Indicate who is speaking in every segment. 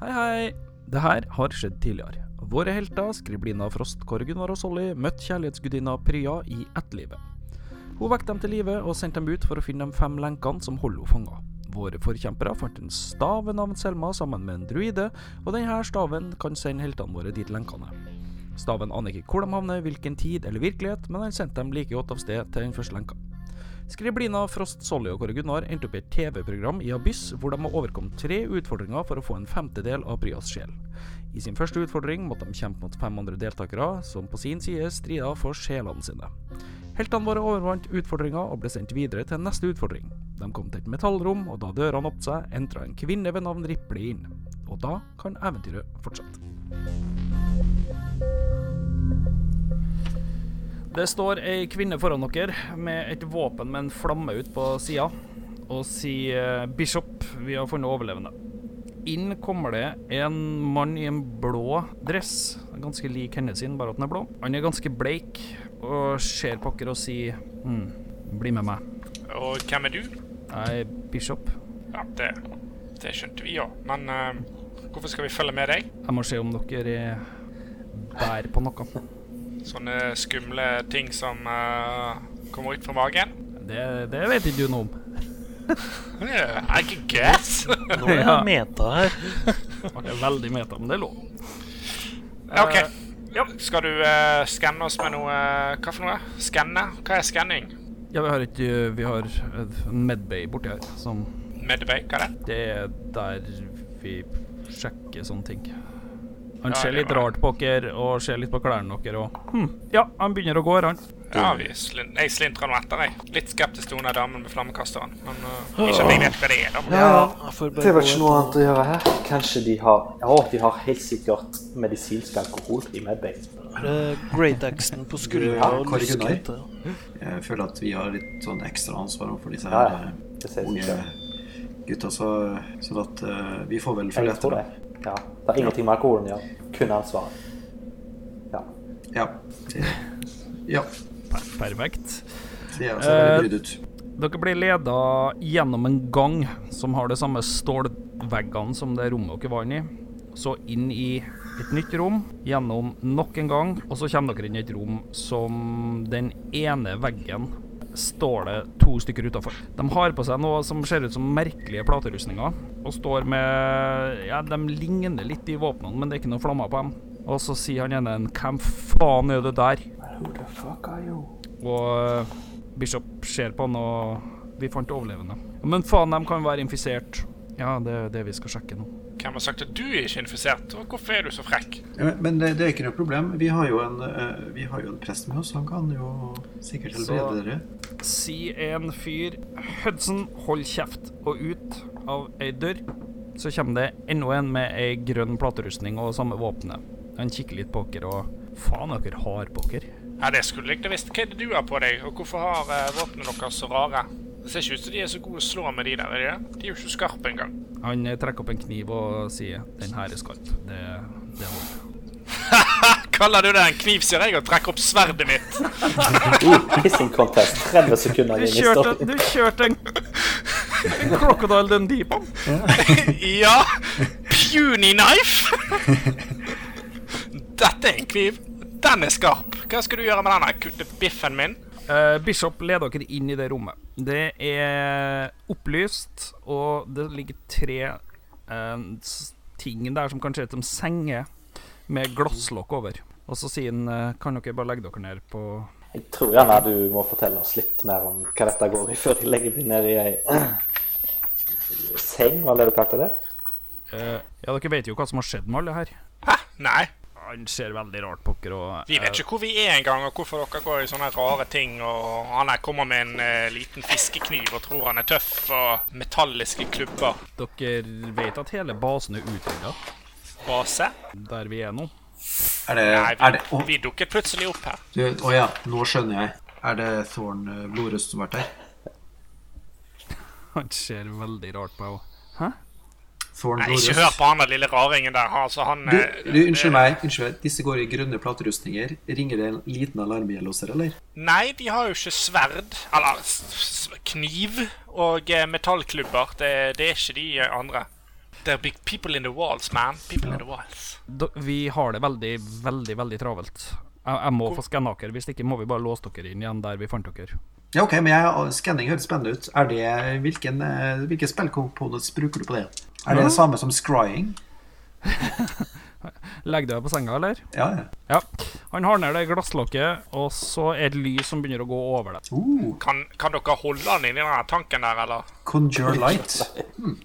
Speaker 1: Hei, hei. Det her har skjedd tidligere. Våre helter, skriblina Frostkorgen var hos Olli, møtte kjærlighetsgudinna Prya i ettlivet. Hun vekket dem til live og sendte dem ut for å finne de fem lenkene som holder henne fanga. Våre forkjempere fant en stav ved navn Selma sammen med en druide, og denne staven kan sende heltene våre dit lenkene er. Staven aner ikke hvor de havner, hvilken tid eller virkelighet, men han sendte dem like godt av sted til den første lenka. Skriblina, Frost, Solly og Kåre Gunnar endte opp i et TV-program i Abyss, hvor de må overkomme tre utfordringer for å få en femtedel av Bryas sjel. I sin første utfordring måtte de kjempe mot fem andre deltakere, som på sin side strida for sjelene sine. Heltene våre overvant utfordringa og ble sendt videre til neste utfordring. De kom til et metallrom, og da dørene åpnet seg, entra en kvinne ved navn Ripley inn. Og da kan eventyret fortsette. Det står ei kvinne foran dere med et våpen med en flamme ut på sida, og sier 'Bishop, vi har funnet overlevende'. Inn kommer det en mann i en blå dress, ganske lik henne sin, bare at den er blå. Han er ganske bleik og ser på dere og sier hm, 'Bli med meg'.
Speaker 2: Og hvem er du?
Speaker 1: Jeg er bishop.
Speaker 2: Ja, det, det skjønte vi, ja. Men eh, hvorfor skal vi følge med deg?
Speaker 1: Jeg må se om dere eh, bærer på noe.
Speaker 2: Sånne skumle ting som eh, kommer ut fra magen?
Speaker 1: Det, det vet ikke du noe om.
Speaker 2: Yeah, I can guess.
Speaker 3: Nå er
Speaker 1: Ja.
Speaker 3: jeg meta her.
Speaker 1: Det er veldig meta, men det er lov.
Speaker 2: Ja, OK.
Speaker 1: Eh,
Speaker 2: Ja. Skal du eh, skanne oss med noe eh, Hva for noe? Skanne? Hva er skanning?
Speaker 1: Ja, vi har et eh, Vi har eh, en medbay borti her som
Speaker 2: Medbay? Hva er det?
Speaker 1: Det er der vi sjekker sånne ting. Han
Speaker 2: Ja,
Speaker 1: ser
Speaker 2: det
Speaker 1: litt
Speaker 2: var-
Speaker 1: rart på dere og ser litt på klærne dere og hm, Ja, han begynner å gå, her, han.
Speaker 2: Ja, vi slin jeg slintrer nå etter, jeg. Litt skeptisk til hun der damen med flammekasteren. Men eh, ikke at jeg vet hva det er, da. men-
Speaker 4: Ja, ja.
Speaker 3: Jeg får Ah, bare
Speaker 4: Det var
Speaker 3: gå
Speaker 4: ikke noe annet å gjøre her. Kanskje de har Ja, de har helt sikkert medisinsk alkohol i Medbay.
Speaker 3: etter, eh, Great Axon på skuldra
Speaker 5: Ja,
Speaker 3: og
Speaker 5: Kåre Gunnar.
Speaker 3: luskete.
Speaker 5: Jeg føler at vi har litt sånn ekstra ansvar overfor disse
Speaker 4: Ja, ja.
Speaker 5: her eh,
Speaker 4: Det ser ut
Speaker 5: unge
Speaker 4: som
Speaker 5: gutta, så, sånn at eh, vi får vel følge
Speaker 4: Jeg tror
Speaker 5: etter
Speaker 4: det.
Speaker 5: dem.
Speaker 4: Ja. Det er ingenting med alkoholen å gjøre. Kun ansvaret. Ja.
Speaker 5: Ja. Det, ja.
Speaker 1: Per- Perfekt.
Speaker 5: Det er også veldig
Speaker 1: Eh,
Speaker 5: brydd ut.
Speaker 1: Dere blir leda gjennom en gang som har de samme stålveggene som det rommet dere var inne i. Så inn i et nytt rom, gjennom nok en gang, og så kommer dere inn i et rom som den ene veggen står det to stykker utafor. De har på seg noe som ser ut som merkelige platerustninger, og står med Ja, de ligner litt de våpnene, men det er ikke noe flammer på dem. Og så sier han ene Hvem faen er det der? Og eh, Bishop ser på han, og vi fant overlevende. Men faen, de kan være infisert. Ja, det er det vi skal sjekke nå.
Speaker 2: Hvem har sagt at du er ikke infisert? Og hvorfor er du så frekk?
Speaker 5: Ja, men- Men det, det er ikke noe problem. Vi har jo en, eh, vi har jo en prest med oss. Han kan jo sikkert
Speaker 1: Så-
Speaker 5: helbrede dere.
Speaker 1: Si en fyr Hudson, hold kjeft, og ut av ei dør så kommer det enda en med ei grønn platerustning og samme våpenet. Han kikker litt på dere og Faen, dere har på dere.
Speaker 2: Ja, det skulle jeg ikke visst. Hva er det du har på deg, og hvorfor har eh, våpnene deres så rare? Det ser ikke ut som de er så gode å slå med de der, er de det? De er jo ikke skarpe engang.
Speaker 1: Han eh, trekker opp en kniv og sier 'Den her er skarp'. Det, det holder.
Speaker 2: Kaller du det en kniv, sier jeg, og trekker opp sverdet mitt.
Speaker 4: Uh, kissing contest. 30 sekunder
Speaker 1: Du
Speaker 4: inn i
Speaker 1: kjørte,
Speaker 4: historien.
Speaker 1: du kjørte en, en Crocodile Dundee på han.
Speaker 2: ja. Puny knife. Dette er en kniv. Den er skarp. Hva skal du gjøre med den? Kutte biffen min?
Speaker 1: Eh, Bishop leder dere inn i det rommet. Det er opplyst, og det ligger tre eh, s- ting der som kan se ut som senger, med glasslokk over. Og så sier han eh, Kan dere bare legge dere ned på
Speaker 4: Jeg tror gjerne du må fortelle oss litt mer om hva dette går i, før de legger deg ned i ei seng, var det du kalte det?
Speaker 1: eh, Ja, dere vet jo hva som har skjedd med alle her.
Speaker 2: Hæ? Nei.
Speaker 1: Han ser veldig rart på dere og eh,
Speaker 2: Vi vet ikke hvor vi er engang, og hvorfor dere går i sånne rare ting. Og han her kommer med en eh, liten fiskekniv og tror han er tøff, og metalliske klubber.
Speaker 1: Dere vet at hele basen er utrydda
Speaker 2: Base?
Speaker 1: der vi er nå.
Speaker 5: Er det,
Speaker 2: Nei,
Speaker 5: er det
Speaker 2: vi,
Speaker 5: Å
Speaker 2: vi dukket plutselig opp her.
Speaker 5: du, å ja, nå skjønner jeg. Er det Thorn eh, Blodrøst som har vært der?
Speaker 1: Han ser veldig rart på meg òg.
Speaker 5: Thorn
Speaker 2: Nei, ikke
Speaker 5: Blodrøst.
Speaker 2: hør på han der lille raringen der. Altså, han
Speaker 5: Du,
Speaker 2: eh,
Speaker 5: du, unnskyld meg, unnskyld meg. Disse går i grønne platerustninger. Ringer det en liten alarmbjelle hos dere, eller?
Speaker 2: Nei, de har jo ikke sverd, eller s- s- kniv, og eh, metallklubber. Det, det er ikke de eh, andre. There be people in the walls, man. People in the walls.
Speaker 1: Da, vi har det veldig, veldig veldig travelt. Jeg, jeg må få skanna dere, hvis ikke må vi bare låse dere inn igjen der vi fant dere.
Speaker 5: Ja, ok, men jeg, skanning høres spennende ut. Er det, hvilken, eh, hvilke spillkomponents bruker du på det? Er det det samme som scrying?
Speaker 1: Legg deg på senga, eller?
Speaker 5: Ja, ja.
Speaker 1: Ja. Han har ned det glasslokket, og så er det lys som begynner å gå over det.
Speaker 5: Uh,
Speaker 2: Kan, kan dere holde han inni den her tanken der, eller?
Speaker 5: conjure light.
Speaker 1: Eh,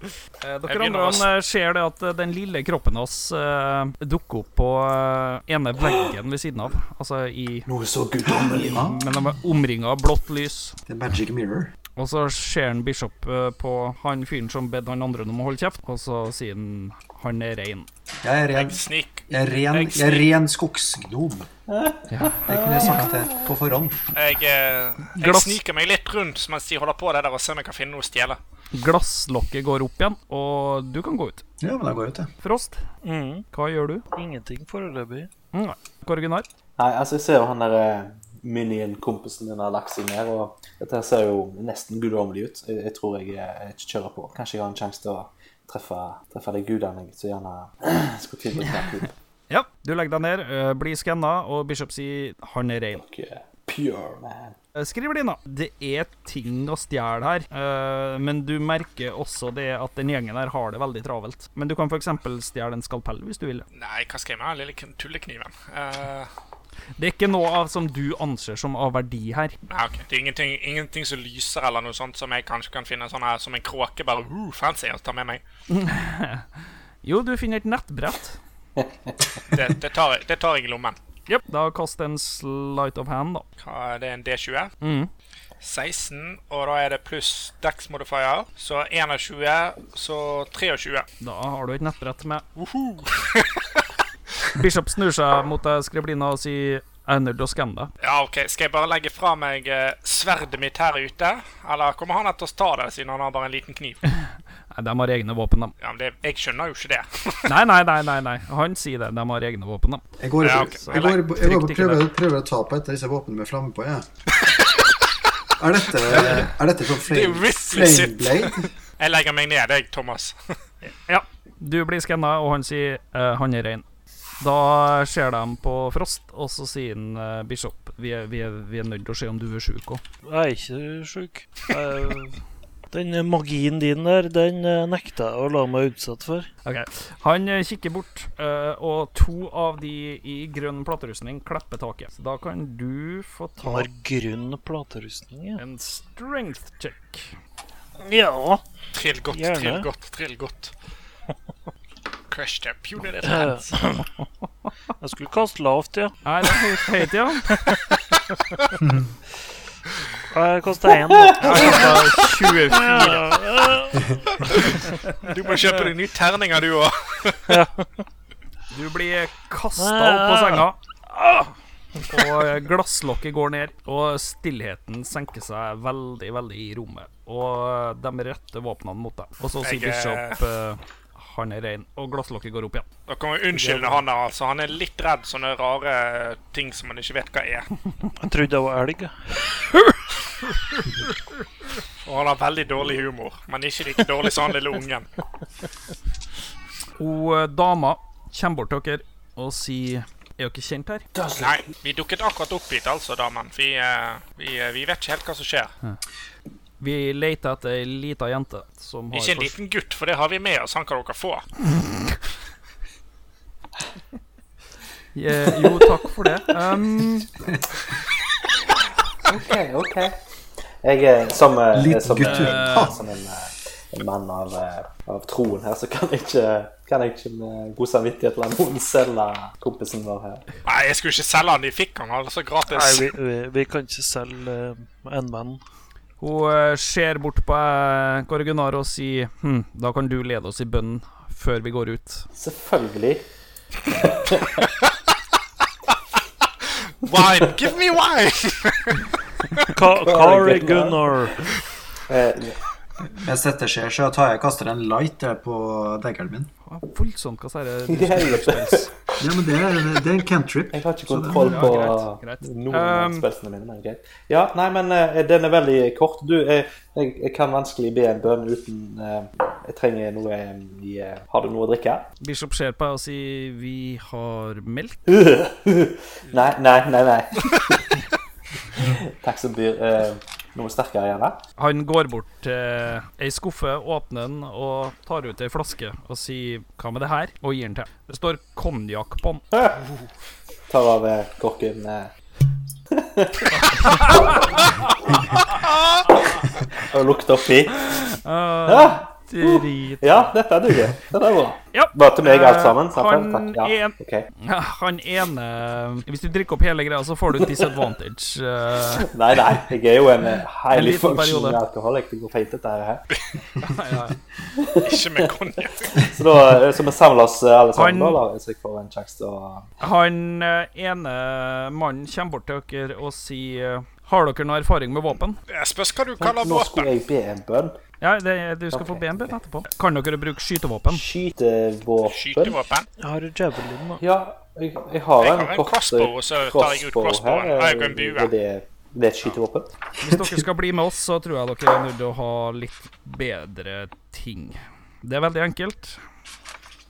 Speaker 1: dere
Speaker 2: Jeg
Speaker 1: andre
Speaker 2: begynner å s-
Speaker 1: han, eh, ser det at eh, den lille kroppen hans eh, dukker opp på eh, ene veggen ved siden av. Altså i
Speaker 4: Noe så guddommelig.
Speaker 5: Ja,
Speaker 1: Men de er omringa av blått lys.
Speaker 5: the magic mirror.
Speaker 1: Og så ser han Bishop eh, på han fyren som bedde han andre om å holde kjeft, og så sier han han er rein.
Speaker 5: Jeg er ren,
Speaker 2: Jeg snik,
Speaker 5: jeg er ren, jeg er ren skogsgnom.
Speaker 1: Ja.
Speaker 5: Jeg kunne sagt det på forhånd.
Speaker 2: jeg, eh, jeg
Speaker 1: Glass.
Speaker 2: sniker meg litt rundt mens de holder på det der og ser om jeg kan finne noe å stjele.
Speaker 1: Glasslokket går opp igjen, og du kan gå ut.
Speaker 5: Ja, men da går jeg ut, jeg.
Speaker 1: Frost,
Speaker 3: Mm,
Speaker 1: hva gjør du?
Speaker 3: ingenting foreløpig.
Speaker 1: Mm, nei. Kåre Gunnar?
Speaker 4: Nei, altså, jeg ser jo han der eh, minion-kompisen din har lagt seg ned, og dette her ser jo nesten guddommelig ut. Jeg, jeg tror jeg, eh, jeg kjører på. Kanskje jeg har en sjanse til å treffe, treffe de gudene jeg så gjerne skulle tilbudt meg gud.
Speaker 1: Ja. Du legger deg ned, eh, blir skanna, og Bishop sier han er rein.
Speaker 4: Dere er eh, Pure man.
Speaker 1: Eh, Skrivelina, det er ting å stjele her, eh, men du merker også det at den gjengen her har det veldig travelt. Men du kan f.eks. stjele en skalpell hvis du vil.
Speaker 2: Nei, hva skal jeg med den lille kn- tullekniven? Eh,
Speaker 1: Det er ikke noe av som du anser som av verdi her.
Speaker 2: nei, ok. Det er ingenting, ingenting som lyser eller noe sånt som jeg kanskje kan finne sånn her som en kråke, bare uh, fancy, og ta med meg.
Speaker 1: Jo, du finner et nettbrett.
Speaker 2: Det, det, tar, jeg- det tar jeg i lommen.
Speaker 1: Yep. Da kast en slight of hand, da.
Speaker 2: Hva er det, en D20?
Speaker 1: Mm.
Speaker 2: 16, og da er det pluss dex modifier, så 21, så 23.
Speaker 1: Da har du et nettbrett med
Speaker 2: Uhu.
Speaker 1: Bishop snur seg mot deg, Skriblina, og sier Jeg er nødt til å skanne deg.
Speaker 2: Ja, ok. Skal jeg bare legge fra meg eh, sverdet mitt her ute? Eller kommer han etter å ta det, siden han har bare en liten kniv?
Speaker 1: Nei, de har egne våpen, de.
Speaker 2: Ja, men det, Jeg skjønner jo ikke det.
Speaker 1: Nei, nei, nei, nei, nei. Han sier det. De har egne våpen, de.
Speaker 5: Jeg går,
Speaker 2: Ja,
Speaker 5: jeg
Speaker 2: ok.
Speaker 5: går, jeg går, jeg går
Speaker 1: Frykt ikke
Speaker 5: prøver, prøver å ta på et av disse våpnene med flamme på, jeg. Er dette, er dette sånn
Speaker 2: Det er
Speaker 5: flame,
Speaker 2: jo risky shit.
Speaker 5: flameblade?
Speaker 2: Jeg legger meg ned, jeg, Thomas.
Speaker 1: Ja. Du blir skanna, og han sier eh, han er rein. Da ser de på Frost, og så sier han eh, Bishop vi er, vi, er, vi er nødt til å se om du er sjuk òg.
Speaker 3: Jeg er ikke sjuk. Jeg- Den magien din der, den eh, nekter jeg å la meg utsette for.
Speaker 1: Ok. Han eh, kikker bort, eh, og to av de i grønn platerustning klapper taket. Så da kan du få
Speaker 3: Han
Speaker 1: ta
Speaker 3: har grønn platerustning, ja.
Speaker 1: en strength check.
Speaker 3: ja.
Speaker 2: Trill godt,
Speaker 3: Gjerne.
Speaker 2: trill godt, trill godt. Crush their punitive
Speaker 3: Eh,
Speaker 2: hands.
Speaker 3: Jeg skulle kaste lavt, ja.
Speaker 1: Nei, det er høyt, ja.
Speaker 3: Jeg kasta én, da.
Speaker 1: Jeg kastet 24.
Speaker 3: Ja, eh,
Speaker 2: Du må kjøpe deg nye terninger, du òg.
Speaker 1: Du blir kasta opp på senga. Ah! Og glasslokket går ned, og stillheten senker seg veldig, veldig i rommet. Og de retter våpnene mot deg. Og så sier
Speaker 2: Jeg, eh,
Speaker 1: Bishop eh, han er rein, og glasslokket går opp igjen.
Speaker 2: Da kan vi unnskylde han der, altså. Han er litt redd sånne rare ting som han ikke vet hva er.
Speaker 3: Jeg trodde det var elg. jeg.
Speaker 2: Og han har veldig dårlig humor, men ikke like dårlig som han lille ungen.
Speaker 1: Og eh, dama kommer bort til dere og sier Er dere kjent her?
Speaker 2: Nei, vi dukket akkurat opp hit, altså, damen. Vi, eh, vi, eh, vi vet ikke helt hva som skjer.
Speaker 1: Vi leter etter ei lita jente som har
Speaker 2: Ikke en liten gutt, for det har vi med oss. Han kan dere få.
Speaker 1: Eh, Jo, takk for det. Um,
Speaker 4: OK, OK. Jeg er som, eh,
Speaker 5: Liten
Speaker 4: som,
Speaker 5: gutt, du.
Speaker 4: eh, som en, eh, en mann av, eh, av troen her, så kan jeg ikke, kan jeg ikke med god samvittighet la noen selge kompisen vår her.
Speaker 2: Nei, jeg skulle ikke selge han. De fikk han altså
Speaker 3: Nei,
Speaker 2: gratis.
Speaker 3: vi, vi, vi kan ikke selge eh, en mann.
Speaker 1: Hun eh, ser bort på eh, Kåre Gunnar og sier hm, Da kan du lede oss i bønnen før vi går ut.
Speaker 4: Selvfølgelig.
Speaker 2: Wine! Give me wine!
Speaker 3: Ka Kari Gunnar.
Speaker 4: Eh,
Speaker 5: Mens dette skjer, så tar jeg og kaster en light eh, på daggeren min.
Speaker 1: Å, Voldsomt, hva sier
Speaker 4: I
Speaker 1: jeg?
Speaker 4: helvete.
Speaker 5: Ja, men det er, det er en cantrip.
Speaker 4: Jeg har ikke kontroll
Speaker 1: Ja,
Speaker 4: på
Speaker 1: greit, greit.
Speaker 4: noen
Speaker 1: Um,
Speaker 4: av spelsene mine. Men greit. Ja, nei, men eh, den er veldig kort. Du, jeg, jeg, jeg kan vanskelig be en bønn uten eh, Jeg trenger noe i eh, Har du noe å drikke?
Speaker 1: Bishop ser på meg og sier 'vi har melk'.
Speaker 4: nei, nei, nei. nei. Takk som byr. eh, noe sterkere, gjerne.
Speaker 1: Han går bort til ei skuffe, åpner den og tar ut ei flaske og sier 'hva med det her?' og gir den til. Det står konjakk på den.
Speaker 4: Tar av eh, korken. eh. Og lukter oppi.
Speaker 1: Uh,
Speaker 4: Ja,
Speaker 1: drit.
Speaker 4: ja, dette duger. Dette er bra.
Speaker 1: Ja.
Speaker 4: Bare til meg alt sammen?
Speaker 1: Eh, han
Speaker 4: sant? Takk.
Speaker 1: er
Speaker 4: Ja.
Speaker 1: en-
Speaker 4: ok.
Speaker 1: Ja, Han ene Hvis du drikker opp hele greia, så får du disadvantage. eh,
Speaker 4: Nei, nei. Jeg er jo en eh,
Speaker 1: En
Speaker 4: highly
Speaker 1: liten
Speaker 4: functioning
Speaker 1: periode.
Speaker 4: alkoholik. Det går fint, dette her.
Speaker 1: ja, ja.
Speaker 2: Ikke med konjakk.
Speaker 4: Så da eh, så vi samler oss eh, alle sammen,
Speaker 1: Han-
Speaker 4: da, da, så jeg får en sjanse til å
Speaker 1: Han eh, ene mannen kommer bort til dere og sier eh, Har dere noe erfaring med våpen?
Speaker 2: Jeg spørs hva du kaller
Speaker 4: Nå
Speaker 2: våpen.
Speaker 4: skulle jeg be en bønn.
Speaker 1: Ja, det, du skal få
Speaker 4: Ok,
Speaker 1: BNB etterpå. Kan dere bruke skytevåpen?
Speaker 4: Skytevåpen.
Speaker 2: Skytevåpen.
Speaker 3: Jeg har javelin, da.
Speaker 4: Ja, jeg, jeg har
Speaker 2: Jeg
Speaker 4: en,
Speaker 2: har en
Speaker 4: kort eh,
Speaker 2: crossbow, så tar jeg ut
Speaker 4: crossbow
Speaker 2: crossbowen.
Speaker 4: her.
Speaker 2: Jeg har en bue.
Speaker 4: Er det, det er et skytevåpen?
Speaker 1: Hvis dere skal bli med oss, så tror jeg dere er nødt til å ha litt bedre ting. Det er veldig enkelt.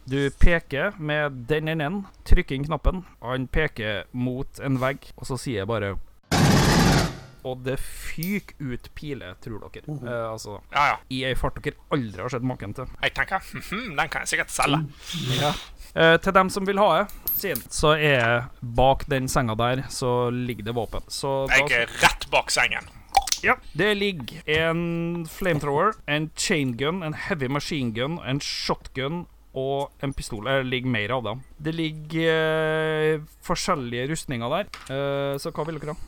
Speaker 1: Du peker med den ene, enden, trykker inn knappen. Han peker mot en vegg, og så sier jeg bare Og det fyker ut piler, tror dere. Eh, altså
Speaker 2: Ja, ja.
Speaker 1: i ei fart dere aldri har sett maken til.
Speaker 2: Jeg tenker hm, den kan jeg sikkert selge.
Speaker 1: Eh, til dem som vil ha det, siden, så er bak den senga der, så ligger det våpen. Så da
Speaker 2: Jeg er rett bak sengen.
Speaker 1: Ja, det ligger en flamethrower, en chaingun, en heavy machine gun, en shotgun og en pistol. Eh, Det ligger mer av dem. Det ligger eh, forskjellige rustninger der, Eh, så hva vil dere ha?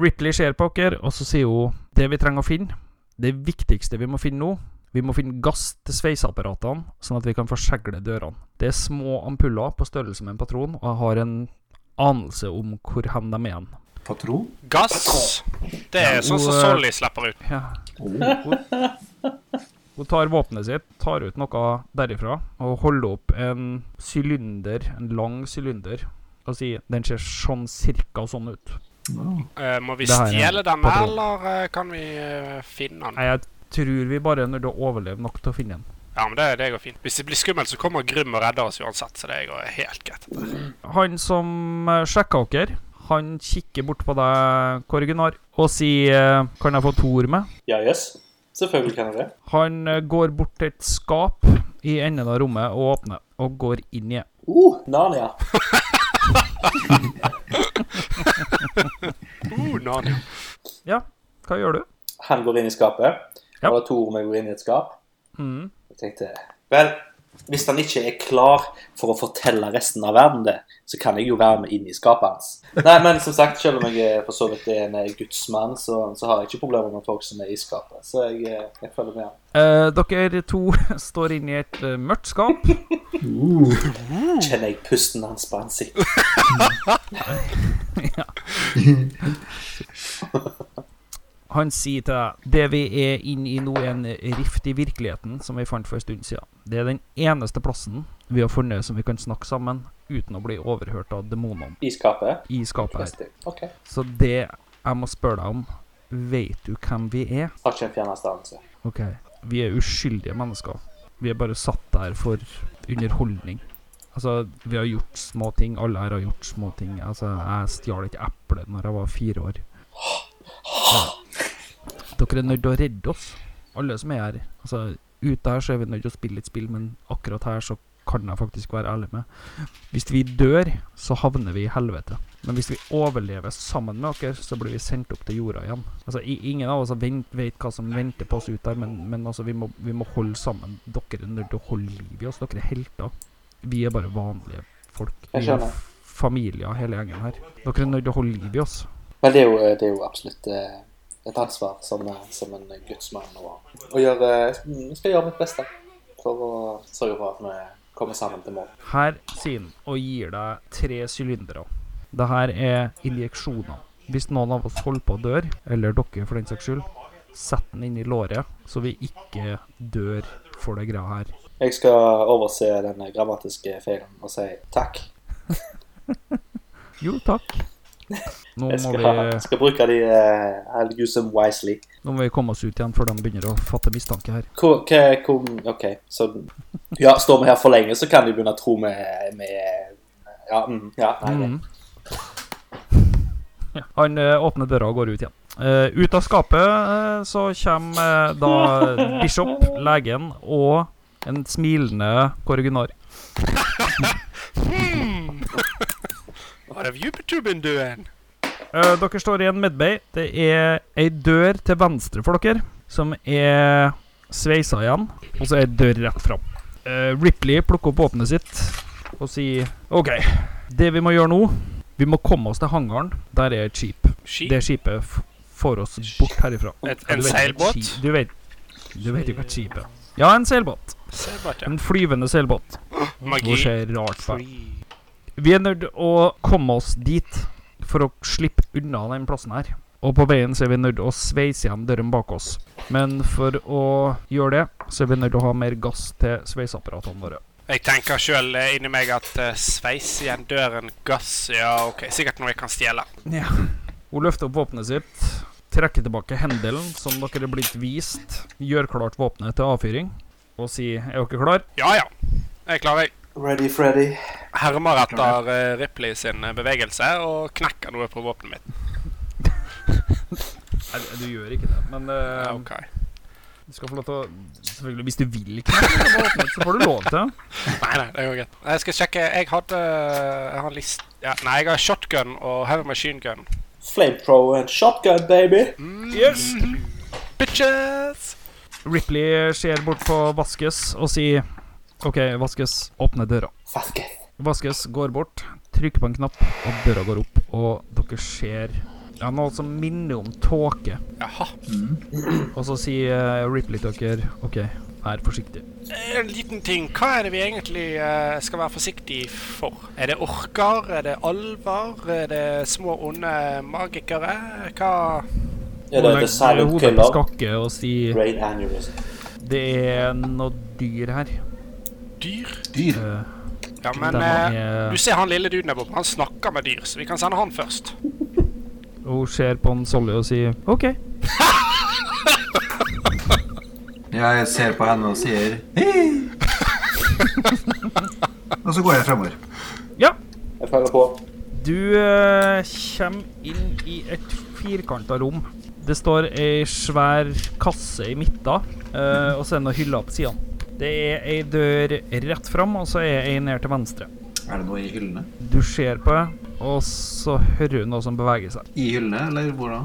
Speaker 1: Ripley ser på dere, og så sier hun det vi trenger å finne. Det viktigste vi må finne nå, vi må finne gass til sveiseapparatene, sånn at vi kan forsegle dørene. Det er små ampuller på størrelse med en patron, og jeg har en anelse om hvor hen de er hen.
Speaker 5: Patron.
Speaker 2: Gass. Det er sånn
Speaker 1: og,
Speaker 2: som
Speaker 1: eh,
Speaker 2: Solly slipper ut.
Speaker 1: Ja. Hun tar våpenet sitt, tar ut noe derifra og holder opp en sylinder, en lang sylinder, og sier den ser sånn cirka sånn ut.
Speaker 2: Eh, må vi
Speaker 1: Det har jeg.
Speaker 2: stjele den,
Speaker 1: Patron.
Speaker 2: eller eh, kan vi eh, finne den?
Speaker 1: Nei, Jeg tror vi bare er nødt til å overleve nok til å finne den.
Speaker 2: Ja, men det, det går fint. Hvis det blir skummelt, så kommer Grym og redder oss uansett. Så det går helt greit.
Speaker 1: Han som eh, sjekka dere, han kikker bort på deg, Korgunar, og sier eh, Kan jeg få to ord med?
Speaker 4: Ja, jøss. Selvfølgelig kan jeg det.
Speaker 1: Han eh, går bort til et skap i enden av rommet og åpner, og går inn i det.
Speaker 4: Uh, Narnia.
Speaker 2: Uh, Narnia.
Speaker 1: Ja, hva gjør du?
Speaker 4: Han går inn i skapet.
Speaker 1: Ja.
Speaker 4: Og da Tor meg går inn i et skap.
Speaker 1: Mm.
Speaker 4: Jeg tenkte Vel, hvis han ikke er klar for å fortelle resten av verden det, så kan jeg jo være med inn i skapet hans. Nei, men som sagt, selv om jeg er for så vidt er en eh, gudsmann, så, så har jeg ikke problemer med folk som er i skapet. Så jeg, eh, jeg følger med han.
Speaker 1: Eh, dere to står inne i et eh, mørkt skap.
Speaker 4: Kjenner jeg pusten hans på ansiktet.
Speaker 1: Han sier til deg det vi er inne i nå, er en rift i virkeligheten som vi fant for en stund siden. Det er den eneste plassen vi har funnet som vi kan snakke sammen uten å bli overhørt av demonene
Speaker 4: I skapet.
Speaker 1: i skapet her.
Speaker 4: Plastikk. OK.
Speaker 1: Så det jeg må spørre deg om, vet du hvem vi er?
Speaker 4: Har ikke en fjerneste anelse.
Speaker 1: Ok, vi er uskyldige mennesker. Vi er bare satt der for underholdning. Altså, vi har gjort små ting. Alle her har gjort små ting. Altså, jeg stjal et eple når jeg var fire år. Ja. Dere er nødt til å redde oss, alle som er her. Altså, ute her så er vi nødt til å spille et spill, men akkurat her så kan jeg faktisk være ærlig med. Hvis vi dør, så havner vi i helvete. Men hvis vi overlever sammen med dere, så blir vi sendt opp til jorda igjen. Altså, i- Ingen av oss har vent, vet hva som venter på oss ut der, men, men altså, vi må, vi må holde sammen. Dere er nødt til å holde liv i oss. Dere er helter. Vi er bare vanlige folk.
Speaker 4: Jeg
Speaker 1: Vi er
Speaker 4: skjønner.
Speaker 1: f- familier, hele gjengen her. Dere er nødt til å holde liv i oss.
Speaker 4: Men det er jo, det er jo absolutt eh, et ansvar som, eh, som en gudsmann å, å gjøre mm, Jeg skal gjøre mitt beste for å sørge for at vi kommer sammen til mål.
Speaker 1: Her sier han og gir deg tre sylindere. Det her er injeksjoner. Hvis noen av oss holder på å dør, eller dere for den saks skyld, sett den inn i låret, så vi ikke dør for det greia her.
Speaker 4: Jeg skal overse den grammatiske feilen og si takk.
Speaker 1: Jo, takk. Nå
Speaker 4: Jeg
Speaker 1: må,
Speaker 4: skal,
Speaker 1: vi,
Speaker 4: skal bruke de eh, I'll use them wisely.
Speaker 1: nå må vi komme oss ut igjen før de begynner å fatte mistanke her.
Speaker 4: Hvor, hva- hvor, OK, så Ja, står vi her for lenge, så kan de begynne å tro vi vi er- Ja, mm, ja nei, nei.
Speaker 1: Mhm. Mm. Ja. Han eh, åpner døra og går ut igjen. Eh, ut av skapet eh, så kommer eh, da Bishop, legen, og en smilende korriginar.
Speaker 2: What have you two been doing?
Speaker 1: Eh, dere står i en medbay. Det er ei dør til venstre for dere, som er sveisa igjen, og så er ei dør rett fram. Eh, Ripley plukker opp våpenet sitt og sier OK, det vi må gjøre nå Vi må komme oss til hangaren. Der er et skip.
Speaker 2: Skip?
Speaker 1: det skipet f- får oss bort herifra.
Speaker 2: Et,
Speaker 1: Ja, du vet ikke
Speaker 2: en
Speaker 1: hva et
Speaker 2: seilbåt?
Speaker 1: skip- Du vet, du vet jo hva et skip er. Ja, en seilbåt.
Speaker 2: Seilbåt, ja.
Speaker 1: En flyvende seilbåt. Hvor
Speaker 2: Magi.
Speaker 1: skjer rart vær. Vi er nødt å komme oss dit for å slippe unna den plassen her. Og på veien så er vi nødt å sveise igjen døren bak oss. Men for å gjøre det, så er vi nødt å ha mer gass til sveiseapparatene våre.
Speaker 2: Jeg tenker sjøl inni meg at eh, sveis igjen døren, gass Ja, OK, sikkert noe jeg kan stjele.
Speaker 1: Hun løfter opp våpenet sitt, trekker tilbake hendelen som dere er blitt vist, gjør klart våpenet til avfyring og sier 'Er dere klar?
Speaker 2: Ja ja, jeg er klar, jeg.
Speaker 4: Ready, Freddy.
Speaker 2: Hermer etter eh, Ripley sin eh, bevegelse og knekker noe på våpenet mitt.
Speaker 1: Nei, du gjør ikke det, men eh,
Speaker 2: OK.
Speaker 1: du skal få lov til å Selvfølgelig, hvis du vil knekke, så bare åpne ut, så får du lov til.
Speaker 2: Nei, nei, det går greit. Jeg skal sjekke Jeg hadde Jeg har list... Ja, nei, jeg har shotgun og heavy machine gun.
Speaker 4: Flamethrower and shotgun, baby.
Speaker 1: Mm. Yes!
Speaker 2: Bitches!
Speaker 1: Ripley ser bort på Vaskes og sier OK, Vaskes, åpne døra.
Speaker 4: Fuck it.
Speaker 1: Vaskes går bort, trykker på en knapp, og døra går opp, og dere ser ja, noe som minner om tåke.
Speaker 2: Jaha.
Speaker 1: Og så sier eh, Ripley til dere OK, vær forsiktig.
Speaker 2: Eh, En liten ting. Hva er det vi egentlig eh, skal være forsiktige for? Er det orker? Er det alver? Er det små, onde magikere? Hva
Speaker 4: Er det The Silent
Speaker 1: hodet på
Speaker 4: Killer?
Speaker 1: skakke og sier
Speaker 4: Brain aneurysm.
Speaker 1: det er noe dyr her.
Speaker 2: dyr?
Speaker 5: Dyr.
Speaker 1: Eh,
Speaker 2: Ja, men
Speaker 1: Den har
Speaker 2: eh,
Speaker 1: jeg-
Speaker 2: du ser han lille duden der borte. Han snakker med dyr, så vi kan sende han først.
Speaker 1: Og hun ser på en Solly og sier OK.
Speaker 5: Jeg ser på henne og sier hei. Og så går jeg fremover.
Speaker 1: Ja.
Speaker 4: Jeg følger på.
Speaker 1: Du eh, kommer inn i et firkanta rom. Det står ei svær kasse i midten, eh, og så er det noen hyller på sidene. Det er ei dør rett fram, og så er ei ned til venstre.
Speaker 5: Er det noe i hyllene?
Speaker 1: Du ser på det, og så hører du noe som beveger seg.
Speaker 5: I hyllene, eller hvor da?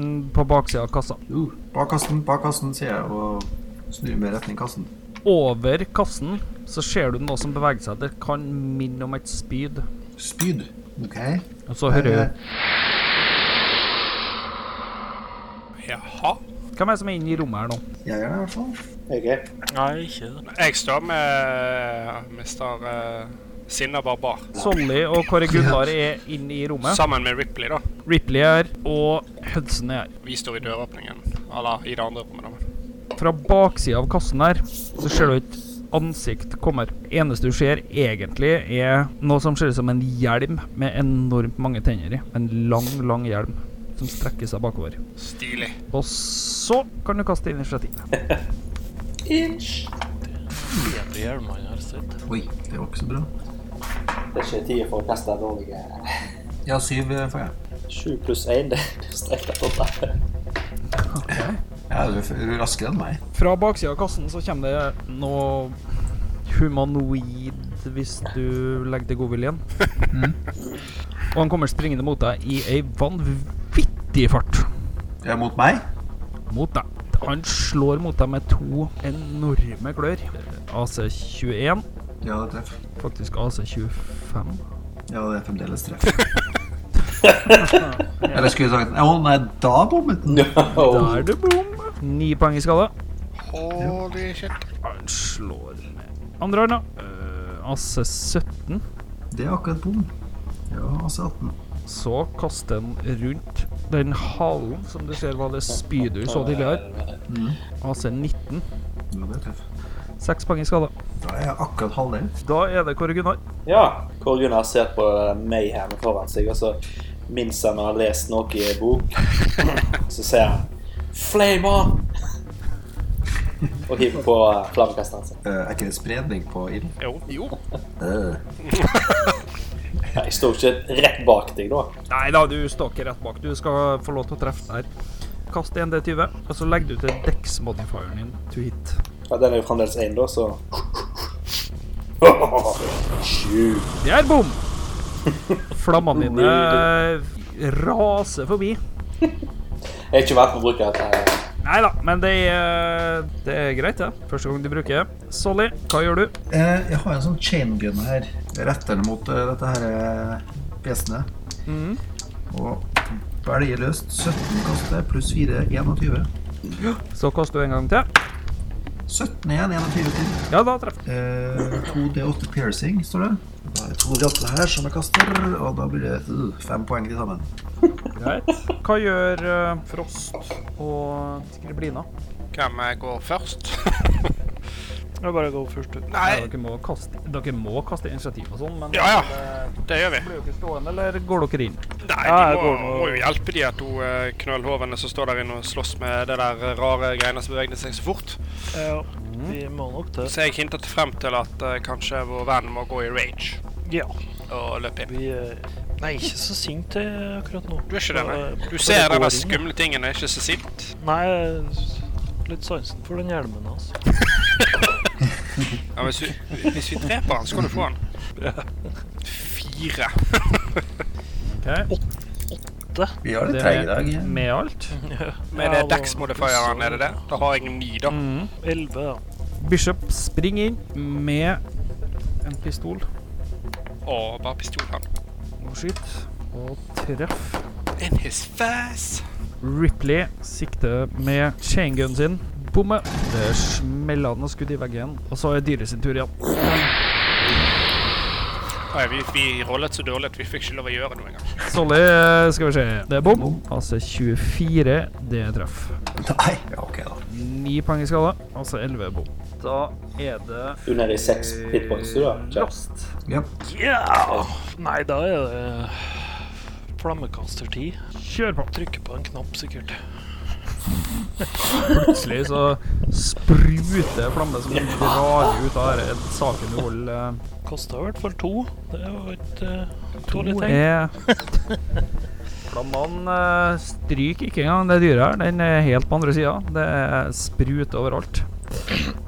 Speaker 1: Mm, På baksida av kassa.
Speaker 5: Uh, bak kassen, bak kassen, sier jeg og snur meg i retning kassen.
Speaker 1: Over kassen så ser du noe som beveger seg. Det kan minne om et spyd.
Speaker 5: Spyd. OK.
Speaker 1: Og så hører du
Speaker 2: Jaha.
Speaker 1: Hvem er det som er inne i rommet her nå?
Speaker 5: Jeg gjør det i hvert fall.
Speaker 4: Jeg er
Speaker 3: Nei, ikke det.
Speaker 2: Jeg står med Mr. eh, Sinna Barbar.
Speaker 1: Solly og Kåre Gunnar er inne i rommet.
Speaker 2: Sammen med Ripley, da.
Speaker 1: Ripley er her, og Hudson er her.
Speaker 2: Vi står i døråpningen. Eller i det andre rommet, da.
Speaker 1: Fra baksida av kassen her så ser du et ansikt kommer. Eneste du ser egentlig, er noe som ser ut som en hjelm med enormt mange tenner i. En lang, lang hjelm som strekker seg bakover.
Speaker 2: Stilig.
Speaker 1: Og så kan du kaste initiativ.
Speaker 4: inch.
Speaker 3: Bedre hjelmer enn jeg har sett.
Speaker 5: Oi, det var ikke så bra.
Speaker 4: Det er ikke tid for å kaste dårlige
Speaker 5: Ja, syv eh, får jeg.
Speaker 4: 7 pluss 1, det er strekt opp der.
Speaker 5: Ja, du er f- du er raskere enn meg.
Speaker 1: Fra baksida av kassen så kommer det noe humanoid, hvis du legger til godviljen. Og han kommer springende mot deg i ei vanvittig fart.
Speaker 5: Det er mot meg.
Speaker 1: Mot deg. Han slår mot deg med to enorme klør. AC21,
Speaker 5: Ja, det treffer.
Speaker 1: faktisk AC25.
Speaker 5: Ja, det er fremdeles treff. Eller skulle jeg sagt Å nei, da bommet den.
Speaker 1: Da
Speaker 4: No.
Speaker 1: er det bom. Ni poeng i skade.
Speaker 2: Holy shit.
Speaker 1: Han slår med andre hånda. Eh, AC17.
Speaker 5: Det er akkurat bom. Ja, altså 18.
Speaker 1: Så kaster han rundt den halen som du ser var det spydet du så tidligere. AC19.
Speaker 5: Ja, det er treff.
Speaker 1: Seks poeng i skade.
Speaker 5: Da er jeg akkurat halvdelen.
Speaker 1: Da er det Kåre Gunnar.
Speaker 4: Ja. Kåre Gunnar ser på eh, Mayheimen foran seg, og så minnes han å ha lest noe i en bok. Så ser han Flame on! Og hiver på flammekasteren sin.
Speaker 5: Eh, er ikke det spredning på ild?
Speaker 2: Jo. jo.
Speaker 5: Eh,
Speaker 4: Nei, Jeg sto ikke rett bak deg da.
Speaker 1: Nei da, du står ikke rett bak. Du skal få lov til å treffe den her. Kast 1D20, og så legger du til dex-modifieren din to hit.
Speaker 4: Ja, den er jo fremdeles én, da, så Sju.
Speaker 1: Det er bom! Flammene dine raser forbi.
Speaker 4: Jeg er ikke vant med å bruke eh, dette. her.
Speaker 1: Nei da, men det er, det er greit, det. Første gang du bruker det. Solly, hva gjør du?
Speaker 5: eh, jeg har en sånn chaingun her. Jeg retter den mot eh, dette her eh, vesenet.
Speaker 1: Mhm.
Speaker 5: Og velger løst 17 kaster pluss 4 21.
Speaker 1: Så kaster du en gang til.
Speaker 5: 17 igjen, 21 til.
Speaker 1: Ja, da treffer du.
Speaker 5: Eh, 2D8 piercing, står det. Da er det 2D8 her som jeg kaster, og da blir det uh, 5 poeng til sammen.
Speaker 1: Greit. Hva gjør eh, Frost og Skriblina?
Speaker 2: Hvem eh, går først?
Speaker 3: Jeg bare går først ut.
Speaker 1: Ja,
Speaker 2: Nei,
Speaker 1: dere, må kaste, dere må kaste initiativ og sånn, men
Speaker 2: ja ja, det gjør vi.
Speaker 1: blir jo ikke stående, eller går dere inn?
Speaker 2: Nei,
Speaker 3: Ja,
Speaker 2: vi
Speaker 3: jeg
Speaker 2: må,
Speaker 3: går nå-
Speaker 2: må jo hjelpe de at hun eh, knølhovene som står der inne og slåss med det der eh, rare greiene som bevegde seg så fort.
Speaker 3: Ja, vi må nok det.
Speaker 2: Så jeg hintet frem til at eh, kanskje vår venn må gå i rage
Speaker 3: Ja.
Speaker 2: og løpe inn.
Speaker 3: Vi er Nei, ikke så sint jeg er akkurat nå.
Speaker 2: Du er ikke det, nei? Du
Speaker 3: Så eh,
Speaker 2: ser
Speaker 3: det går
Speaker 2: denne
Speaker 3: inn.
Speaker 2: skumle tingen, er ikke så sint?
Speaker 3: Nei, litt sansen for den hjelmen altså. hans.
Speaker 2: Ja, hvis, vi, hvis vi dreper han, så kan du få han. Fire.
Speaker 1: Ok,
Speaker 5: Vi har
Speaker 1: det
Speaker 5: litt
Speaker 1: er
Speaker 5: treig i dag.
Speaker 1: med, med alt.
Speaker 2: Med det Dex-modifieren, er det det? Da har jeg ni, da.
Speaker 1: Mhm.
Speaker 3: Elleve, ja.
Speaker 1: Bishop springer inn med en pistol
Speaker 2: Og bare pistol han.
Speaker 1: og skyter. Og treff.
Speaker 2: In his face.
Speaker 1: Ripley sikter med chaingunen sin. Bomme. Det er smellende skudd i veggen, og så er dyret sin tur igjen.
Speaker 2: Nei, vi, vi rollet så dårlig at vi fikk ikke lov å gjøre noe engang.
Speaker 1: Solly, eh, skal vi se. Det er bom. Altså 24, det er treff.
Speaker 5: Nei, ja, ok da.
Speaker 1: 9 poeng i skade, altså 11 bom. Da er det eh,
Speaker 4: Du er nede i seks hit points, du, da. Kjell.
Speaker 1: Rost.
Speaker 5: Ja.
Speaker 3: Ja! Nei, da er det flammekaster 10.
Speaker 1: Kjør på.
Speaker 3: Trykker på en knapp, sikkert.
Speaker 1: Plutselig så spruter flammer som drar ut av denne saken du holder. eh,
Speaker 3: Kosta i hvert fall to. Det er jo et uh, dårlig
Speaker 1: To
Speaker 3: tegn.
Speaker 1: er Flammene eh, stryker ikke engang det dyret her. Den er helt på andre sida. Det er sprut overalt.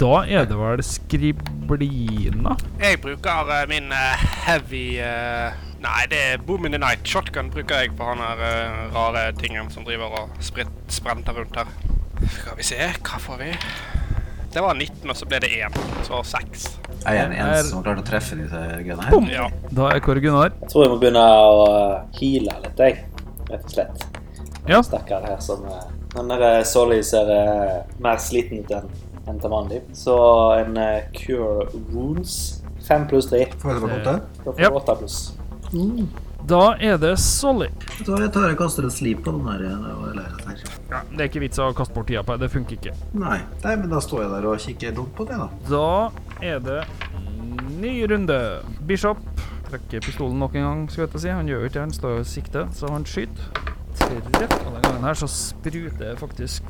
Speaker 1: Da er det vel skriblina.
Speaker 2: Jeg bruker eh, min eh, heavy eh, Nei, det er Boom in the Night. Shotgun bruker jeg på han her eh, rare tingen som driver og sprit, sprenter rundt her. Skal vi se, hva får vi? Det var 19, og så ble det 1. Så 6.
Speaker 5: Jeg er den
Speaker 1: Er-
Speaker 5: eneste som klarte å treffe disse greiene her.
Speaker 1: Boom!
Speaker 2: Ja.
Speaker 1: Da er Kåre Gunnar.
Speaker 4: Jeg tror jeg må begynne å eh, heale litt, jeg. Rett og slett.
Speaker 1: Ja.
Speaker 4: Stakkar her som eh, Den der Solly ser eh, mer sliten ut enn enn til vanlig. Så en eh, cure wounds. Fem pluss tre.
Speaker 5: Får jeg tilbake åtte?
Speaker 4: Da får
Speaker 1: Ja.
Speaker 4: du åtte pluss.
Speaker 1: Da er det Solly.
Speaker 5: Da jeg tar jeg og kaster en slip på den der, eh, og lærer dette her.
Speaker 1: Ja, det er ikke vits å kaste bort tida på det. Det funker ikke.
Speaker 5: Nei. Nei, men da står jeg der og kikker dumt på det, da.
Speaker 1: Da er det ny runde. Bishop trekker pistolen nok en gang, skulle jeg til å si. Han gjør jo ikke det, han står jo og sikter, så han skyter. Treff. Og den gangen her så spruter det faktisk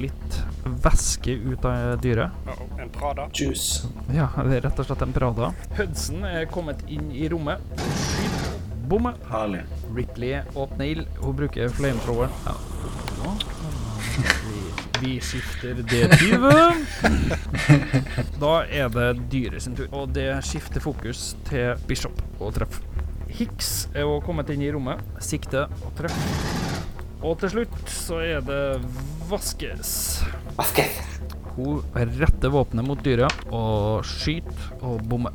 Speaker 1: litt væske ut av dyret.
Speaker 2: Uh -oh. En Prada.
Speaker 4: Juice.
Speaker 1: Ja, det er rett og slett en Prada. Hudson er kommet inn i rommet. Skyter. Bomme.
Speaker 5: Herlig.
Speaker 1: Ripley åpner ild. Hun bruker flamethroweren. Ja. Nå. Vi, vi skifter D20. Da er det dyret sin tur, og det skifter fokus til Bishop og treff. Hicks er også kommet inn i rommet. Sikte og treff. Og til slutt så er det Vaskes.
Speaker 4: Aske.
Speaker 1: Hun retter våpenet mot dyret og skyter og bommer.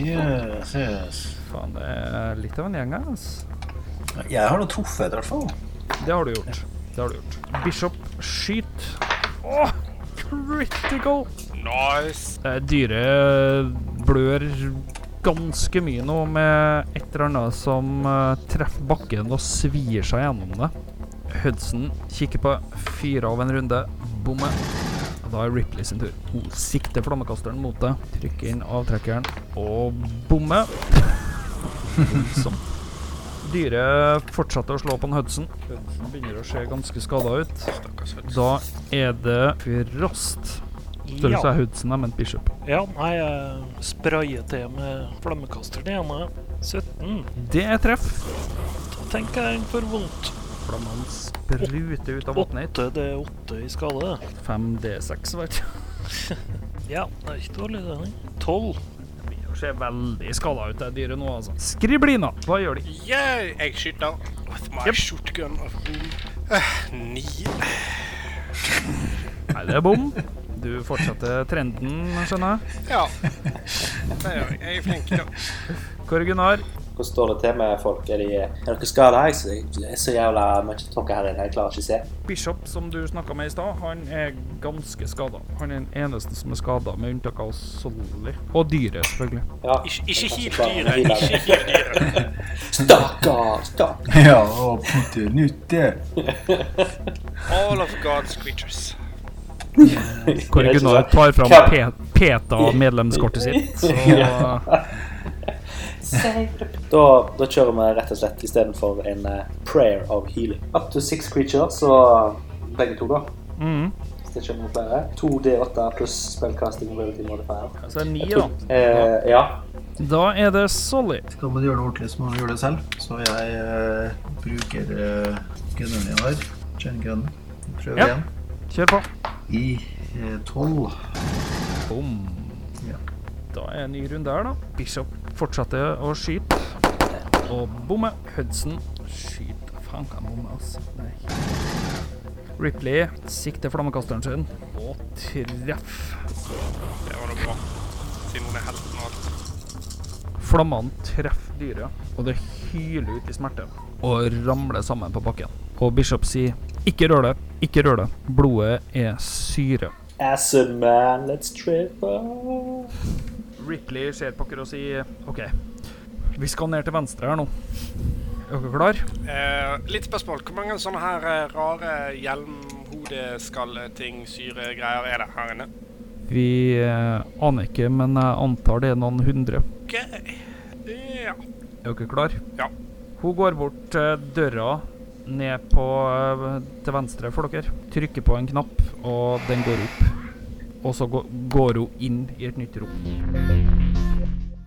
Speaker 5: Yes, yes.
Speaker 1: Faen, det er litt av en gjeng her, altså.
Speaker 5: Jeg har noe truffet, i hvert fall.
Speaker 1: Det har du gjort. Det har du gjort. Bishop, skyt. Åh, critical!
Speaker 2: Nice.
Speaker 1: Eh, Dyret eh, blør ganske mye nå med et eller annet som eh, treffer bakken og svir seg gjennom det. Hudson kikker på, fyrer av en runde, bommer. Da er Ripley sin tur. Hun sikter flammekasteren mot deg, trykker inn avtrekkeren og bommer. Voldsomt. Dyret fortsetter å slå på en Hudson. Hudson begynner å se ganske skada ut.
Speaker 2: Stakkars hund.
Speaker 1: Da er det Frost. Større
Speaker 3: Ja.
Speaker 1: er Hudson, jeg mente Bishop.
Speaker 3: ja, nei, jeg sprayer til med flammekasteren igjen. jeg. 17.
Speaker 1: Det er treff.
Speaker 3: Da tenker jeg den får vondt.
Speaker 1: Flammene spruter ut av våpenet
Speaker 3: 8, det er 8 i skade. det.
Speaker 1: ditt. 5D6, vet du.
Speaker 3: Ja, det er ikke dårlig, det. nei. 12.
Speaker 1: Begynner å se veldig skada ut, det dyret nå, altså. Skriblina, hva gjør de?
Speaker 2: Yay! Jeg skyter with my
Speaker 1: Yep.
Speaker 2: shotgun of boom. Eh, Ni.
Speaker 1: Nei, det er bom. Du fortsetter trenden, skjønner jeg.
Speaker 2: Ja. Det gjør jeg. Jeg er flink. da.
Speaker 1: Kåre Gunnar,
Speaker 4: Hvordan står det til med folk? Er, de, er dere skada? Jeg, jeg, jeg er så jævla mye tåke her inne, jeg klarer ikke å se.
Speaker 1: Bishop, som du snakka med i stad, han er ganske skada. Han er den eneste som er skada, med unntak av Solly. Og dyret, selvfølgelig.
Speaker 4: Ja,
Speaker 2: Ikke, ikke
Speaker 4: jeg
Speaker 2: hiv
Speaker 4: kan klare
Speaker 2: dyret. Ikke
Speaker 4: å hile
Speaker 2: hiv dyret.
Speaker 4: det. Stakkar! Stakkar!
Speaker 5: Ja, og putte nytt eh. det.
Speaker 2: All of God's creatures.
Speaker 1: Kåre
Speaker 4: Ikke
Speaker 1: Gunnar
Speaker 4: sant?
Speaker 1: tar fram
Speaker 4: Hvem-
Speaker 1: Pe- PETA-medlemskortet sitt. Så
Speaker 4: Da, da kjører vi rett og slett istedenfor en eh, prayer of healing. Up to six creatures, så begge to, da.
Speaker 2: Mm.
Speaker 1: Mhm.
Speaker 4: Hvis det ikke er noen flere. 2D8 pluss spellcasting ability modifier.
Speaker 1: Så er det ni,
Speaker 4: Jeg
Speaker 1: da.
Speaker 4: tror- Eh, ja.
Speaker 1: Da er det Solly.
Speaker 5: Da må du gjøre det ordentlig som man gjør det selv. Så jeg eh, bruker uh, gunneren jeg har. Chain gun. Prøv
Speaker 1: Ja.
Speaker 5: igjen.
Speaker 1: Kjør på.
Speaker 5: I eh, 12.
Speaker 1: Bom.
Speaker 5: Ja.
Speaker 1: Da er en ny runde her, da. Bishop fortsetter å skyte. Og bomme. Hudson skyter. Faen, kan bomme, altså. Nei. Ripley sikter flammekasteren sin og treff.
Speaker 2: Det var noe bra. Siden hun er helten og alt.
Speaker 1: Flammene treffer dyret, og det hyler ut i smerte og ramler sammen på bakken. Og Bishop sier 'ikke rør det, ikke rør det'. Blodet er syre.
Speaker 4: Acid man, let's trip up.
Speaker 1: Ripley ser på dere og sier OK, vi skal ned til venstre her nå. Er dere klar?
Speaker 2: Eh, litt spørsmål. Hvor mange sånne her eh, rare hjelmhodeskalleting, syregreier er det her inne?
Speaker 1: Vi eh, aner ikke, men jeg antar det er noen hundre.
Speaker 2: Ok. Ja.
Speaker 1: Er dere klar?
Speaker 2: Ja.
Speaker 1: Hun går bort til døra ned på eh, til venstre for dere. Trykker på en knapp, og den går opp. Og så gå- går hun inn i et nytt rom.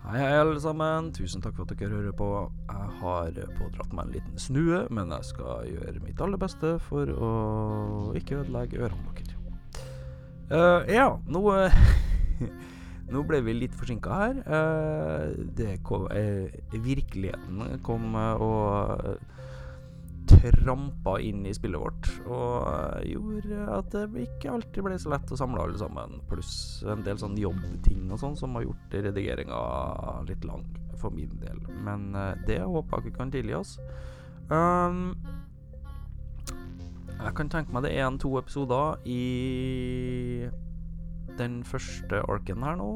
Speaker 1: Hei, hei, alle sammen. Tusen takk for at dere hører på. Jeg har pådratt meg en liten snue, men jeg skal gjøre mitt aller beste for å ikke ødelegge ørene deres. Eh, ja, nå eh, Nå ble vi litt forsinka her. Eh, det kom eh, Virkeligheten kom eh, og eh, trampa inn i spillet vårt og eh, gjorde at det ikke alltid ble så lett å samle alle sammen. Pluss en del sånn jobbting og sånn som har gjort redigeringa litt lang for min del. Men eh, det håper jeg ikke kan tilgi oss. Um, jeg kan tenke meg det er en to episoder i den første arken her nå.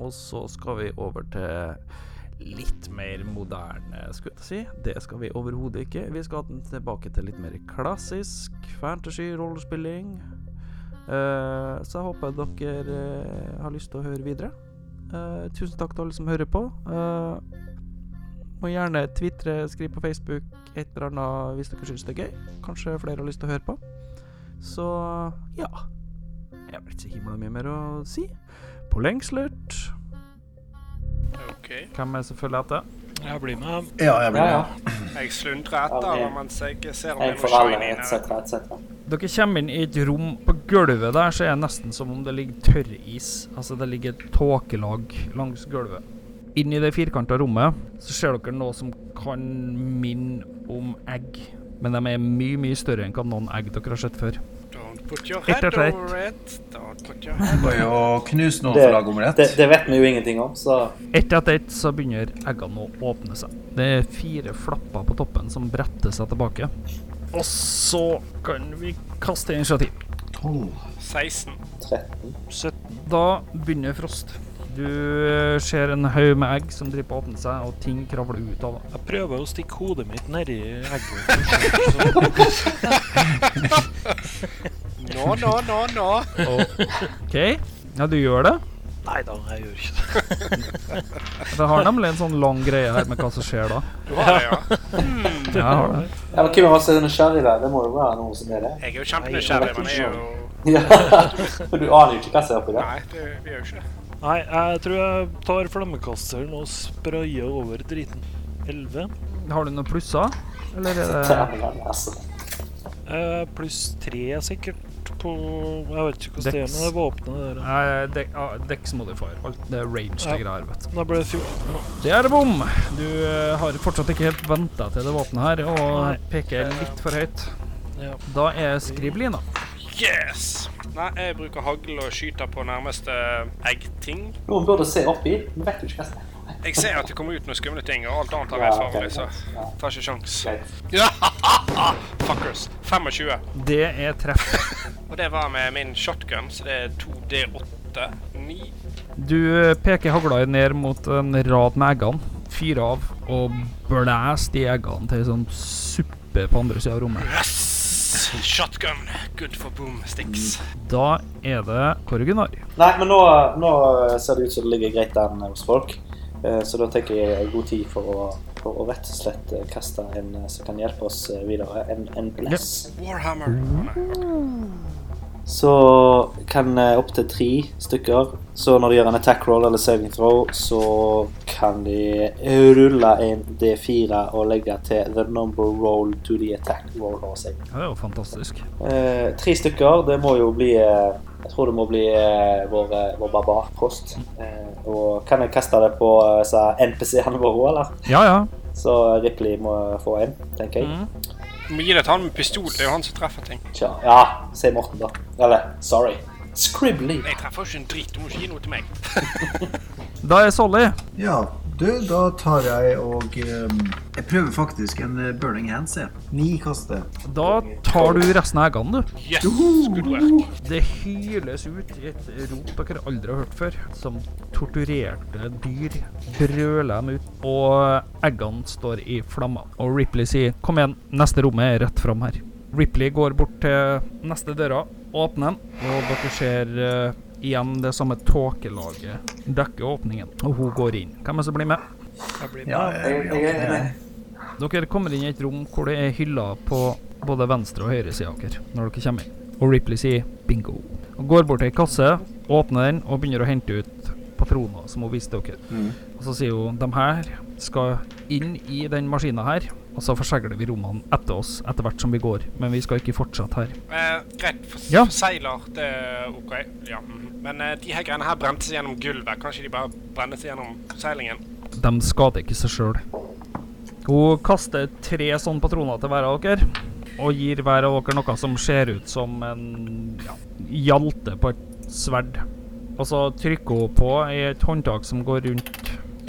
Speaker 1: Og så skal vi over til litt mer moderne, skulle jeg si. Det skal vi overhodet ikke. Vi skal tilbake til litt mer klassisk fantasy, rollespilling. Eh, så jeg håper dere eh, har lyst til å høre videre. Eh, tusen takk til alle som hører på. Eh, må gjerne tvitre, skrive på Facebook et eller annet hvis dere syns det er gøy. Kanskje flere har lyst til å høre på. Så ja. Jeg har ikke så himla mye mer å si. På lengslert.
Speaker 2: OK.
Speaker 1: Hvem er selvfølgelig etter?
Speaker 3: Jeg blir med.
Speaker 5: Ja, jeg
Speaker 4: Ja,
Speaker 5: blir
Speaker 4: ja.
Speaker 2: Jeg sluntrer etter
Speaker 4: Ja,
Speaker 2: ja,
Speaker 4: det-
Speaker 2: mens jeg ser om det
Speaker 4: En
Speaker 2: er
Speaker 4: for
Speaker 2: noe
Speaker 4: alle,
Speaker 2: shiny
Speaker 4: etc.,
Speaker 2: inne.
Speaker 4: etc.
Speaker 1: Dere kommer inn i et rom på gulvet der, så er det nesten som om det ligger tørris. Altså, det ligger et tåkelag langs gulvet. Inn i det firkanta rommet så ser dere noe som kan minne om egg. Men de er mye, mye større enn hva noen egg dere har sett før.
Speaker 2: Don't put your
Speaker 1: Rett
Speaker 2: head
Speaker 1: og slett.
Speaker 2: over it. Don't put your head
Speaker 5: Det var jo å knuse noen
Speaker 4: Det-
Speaker 5: for å lage omelett.
Speaker 4: Det, det vet vi jo ingenting om, så
Speaker 1: Ett etter ett så begynner eggene å åpne seg. Det er fire flapper på toppen som bretter seg tilbake. Og så kan vi kaste initiativ.
Speaker 5: 12.
Speaker 2: 16.
Speaker 4: 13.
Speaker 3: 17.
Speaker 1: Da begynner Frost. Du eh, ser en haug med egg som driver på å åpne seg, og ting kravler ut av det.
Speaker 3: Jeg prøver å stikke hodet mitt nedi egget. først, så-
Speaker 2: No Nå, nå, nå, nå.
Speaker 1: OK. Ja, du gjør det.
Speaker 3: Nei da, jeg gjør ikke det.
Speaker 1: Det har nemlig en sånn lang greie her med hva som skjer da.
Speaker 2: Du har det, ja.
Speaker 1: Ja, jeg har det.
Speaker 4: Ja, men Hvem av oss er nysgjerrig der? Det må jo være noen som er det.
Speaker 2: Jeg er jo kjempenysgjerrig, men jeg er jo
Speaker 4: Ja, For du aner jo ikke hva som er oppi der.
Speaker 2: Nei, det, vi er jo ikke det.
Speaker 3: Nei, jeg tror jeg tar flammekasteren og sprayer over driten. 11
Speaker 1: Har du noen plusser? Eller er det
Speaker 4: Terningene, altså.
Speaker 3: eh, pluss 3 sikkert på Jeg vet ikke hvordan det er
Speaker 1: Dex.
Speaker 3: med det våpenet der.
Speaker 1: Nei, dek- ah, Dex modifier. Alt det ranged
Speaker 3: Ja.
Speaker 1: greier, vet du.
Speaker 3: Da ble det 14. nå.
Speaker 1: Det er bom! Du eh, har fortsatt ikke helt venta til det våpenet her,
Speaker 3: Nei.
Speaker 1: og peker litt for høyt.
Speaker 3: Ja.
Speaker 1: Da er skriblina.
Speaker 2: Yes! Nei, jeg bruker hagl og skyter på nærmeste eggting.
Speaker 4: Noen burde se oppi. Vi vet jo ikke hva som er
Speaker 2: Jeg ser at det kommer ut noen skumle ting, og alt annet har jeg farlig, så tar ikke sjans.
Speaker 4: greit.
Speaker 2: Ja, Fuckers. 25.
Speaker 1: Det er treff.
Speaker 2: Og det var med min shotgun, så det er 2D8. 9.
Speaker 1: Du eh, peker hagla di ned mot en rad med eggene. Fyr av og blæs de eggene til ei sånn suppe på andre sida av rommet.
Speaker 2: Yes! Shotgun. Good for boom sticks.
Speaker 1: Da er det Korgunar.
Speaker 4: Nei, men nå, nå ser det ut som det ligger greit an hos folk. Eh, Så da tenker jeg er god tid for å, for å rett og slett eh, kaste en eh, som kan hjelpe oss eh, videre. En, en bless.
Speaker 2: Warhammer. Å nei.
Speaker 4: Så kan opptil tre stykker Så når de gjør en attack roll eller saving throw, så kan de rulle en D4 og legge til the number roll to the attack roll or saving.
Speaker 1: Ja, det er jo fantastisk.
Speaker 4: Eh, tre stykker, det må jo bli eh, Jeg tror det må bli eh, vår, eh, vår barbarprost. Eh, og kan jeg kaste det på eh, disse NPC-ene våre, eller?
Speaker 1: Ja, ja.
Speaker 4: Så Ripley må få en, tenker jeg.
Speaker 2: Du må gi det til han med pistol. Det er jo han som treffer ting.
Speaker 4: Tja, ja, sier Morten, da. Eller sorry. Scribbly.
Speaker 2: Jeg treffer jo ikke en drit. Du må ikke gi noe til meg.
Speaker 1: Da er Solly.
Speaker 5: Ja, du, da tar jeg og ehm, Jeg prøver faktisk en eh, burning hands, jeg. Ni kaster.
Speaker 1: Da tar du resten av eggene, du.
Speaker 2: Yes, good work.
Speaker 1: Det hyles ut i et rop dere aldri har hørt før. Som torturerte dyr brøler dem ut, og eggene står i flammer. Og Ripley sier 'Kom igjen, neste rommet er rett fram her'. Ripley går bort til neste døra, åpner den, og dere ser eh, igjen det samme tåkelaget dekke åpningen. Og hun går inn. Hvem er det som blir med?
Speaker 5: Ja, jeg,
Speaker 1: Dere kommer inn i et rom hvor det er hyller på både venstre og høyre sida av dere når dere kommer inn. Og Ripley sier bingo. Og går bort til ei kasse, åpner den og begynner å hente ut patroner som hun viste dere. Og så sier hun de her skal inn i den maskina her, og så forsegler vi rommene etter oss etter hvert som vi går. Men vi skal ikke fortsette her.
Speaker 2: Eh, greit. For
Speaker 1: Ja.
Speaker 2: Seiler, det er OK. Ja. mhm. Men eh, de her greiene her brente seg gjennom gulvet. Kanskje de bare brenner seg gjennom seilingen?
Speaker 1: De skader ikke seg sjøl. Hun kaster tre sånne patroner til hver av dere, og gir hver av dere noe som ser ut som en ja, hjalte på et sverd. Og så trykker hun på i et håndtak som går rundt,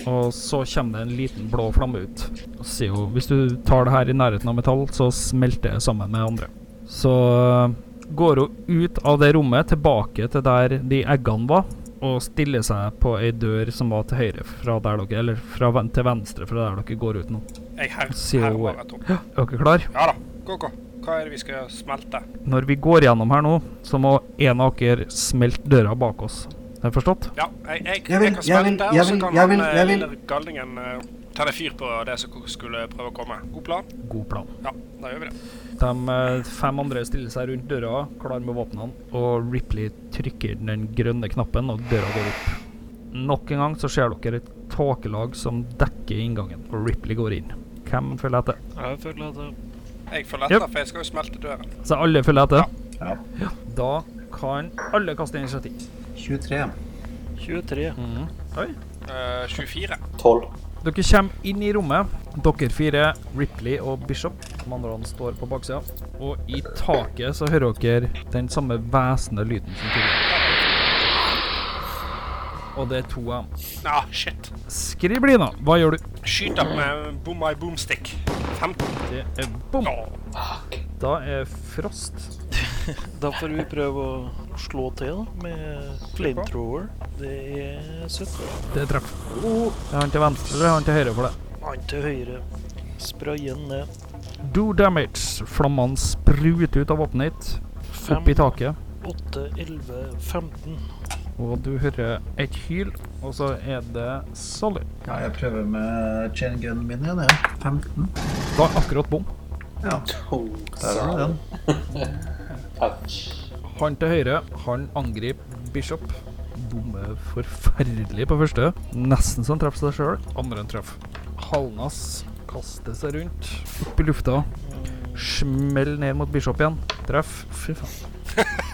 Speaker 1: og så kommer det en liten blå flamme ut. Og så sier hun hvis du tar det her i nærheten av metall, så smelter det sammen med andre. Så eh, går hun ut av det rommet, tilbake til der de eggene var, og stiller seg på ei dør som var til høyre fra der dere Eller fra ven til venstre fra der dere går ut nå.
Speaker 2: Jeg her,
Speaker 1: Sier
Speaker 2: her
Speaker 1: hun.
Speaker 2: var et rom.
Speaker 1: Ja, er dere klar?
Speaker 2: Ja da. Gå, gå. Hva er det vi skal smelte?
Speaker 1: Når vi går gjennom her nå, så må en av dere smelte døra bak oss. Er det forstått?
Speaker 2: Ja, jeg, jeg,
Speaker 5: Jeg vil-
Speaker 2: jeg kan
Speaker 5: jeg vil-
Speaker 2: smelte,
Speaker 5: jeg
Speaker 2: og så
Speaker 5: vil-
Speaker 2: kan
Speaker 5: jeg vil-
Speaker 2: han eh,
Speaker 5: jeg vil-
Speaker 2: lille galningen eh, ta det fyr på det som skulle prøve å komme. God plan?
Speaker 1: God plan.
Speaker 2: Ja, da gjør vi det.
Speaker 1: De eh, fem andre stiller seg rundt døra, klar med våpnene, og Ripley trykker den grønne knappen, og døra går opp. Nok en gang så ser dere et tåkelag som dekker inngangen, og Ripley går inn. Hvem følger etter?
Speaker 3: Jeg føler at jeg
Speaker 2: Jeg får letta,
Speaker 1: Yep.
Speaker 2: for jeg skal jo smelte døren.
Speaker 1: Så alle følger etter?
Speaker 5: Ja.
Speaker 1: Da kan alle kaste initiativ.
Speaker 5: 23.
Speaker 3: 23.
Speaker 2: Eh, 24.
Speaker 4: Tolv.
Speaker 1: Dere kommer inn i rommet. Dere fire, Ripley og Bishop, de andre står på baksida. Og i taket så hører dere den samme hvesende lyden som tidligere. Og det er to av dem.
Speaker 2: Ah, shit.
Speaker 1: Skriblina, hva gjør du?
Speaker 2: Skyt opp med boom my boomstick. 15.
Speaker 1: Det er bom.
Speaker 2: Åh.
Speaker 1: Da er Frost.
Speaker 3: Da får vi prøve å slå til da, med flamethrower. Det er 17.
Speaker 1: Det er treff. Er han til venstre eller er han til høyre for deg?
Speaker 3: Han til høyre. Sprayen ned.
Speaker 1: Do damage. Flammene spruter ut av våpenet ditt.
Speaker 3: Fem,
Speaker 1: opp i taket.
Speaker 3: åtte, elleve, 15.
Speaker 1: Og du hører et hyl, og så er det Solly.
Speaker 5: Ja, jeg prøver med chain gunen min igjen, jeg. 15.
Speaker 1: Da er akkurat bom.
Speaker 5: Ja, der var den.
Speaker 4: Touch.
Speaker 1: Han til høyre, han angriper Bishop. Bommer forferdelig på første. Nesten så han treffer seg sjøl. Andre enn treff. Halen hans kaster seg rundt, opp i lufta. Smell ned mot Bishop igjen. Treff. Fy faen.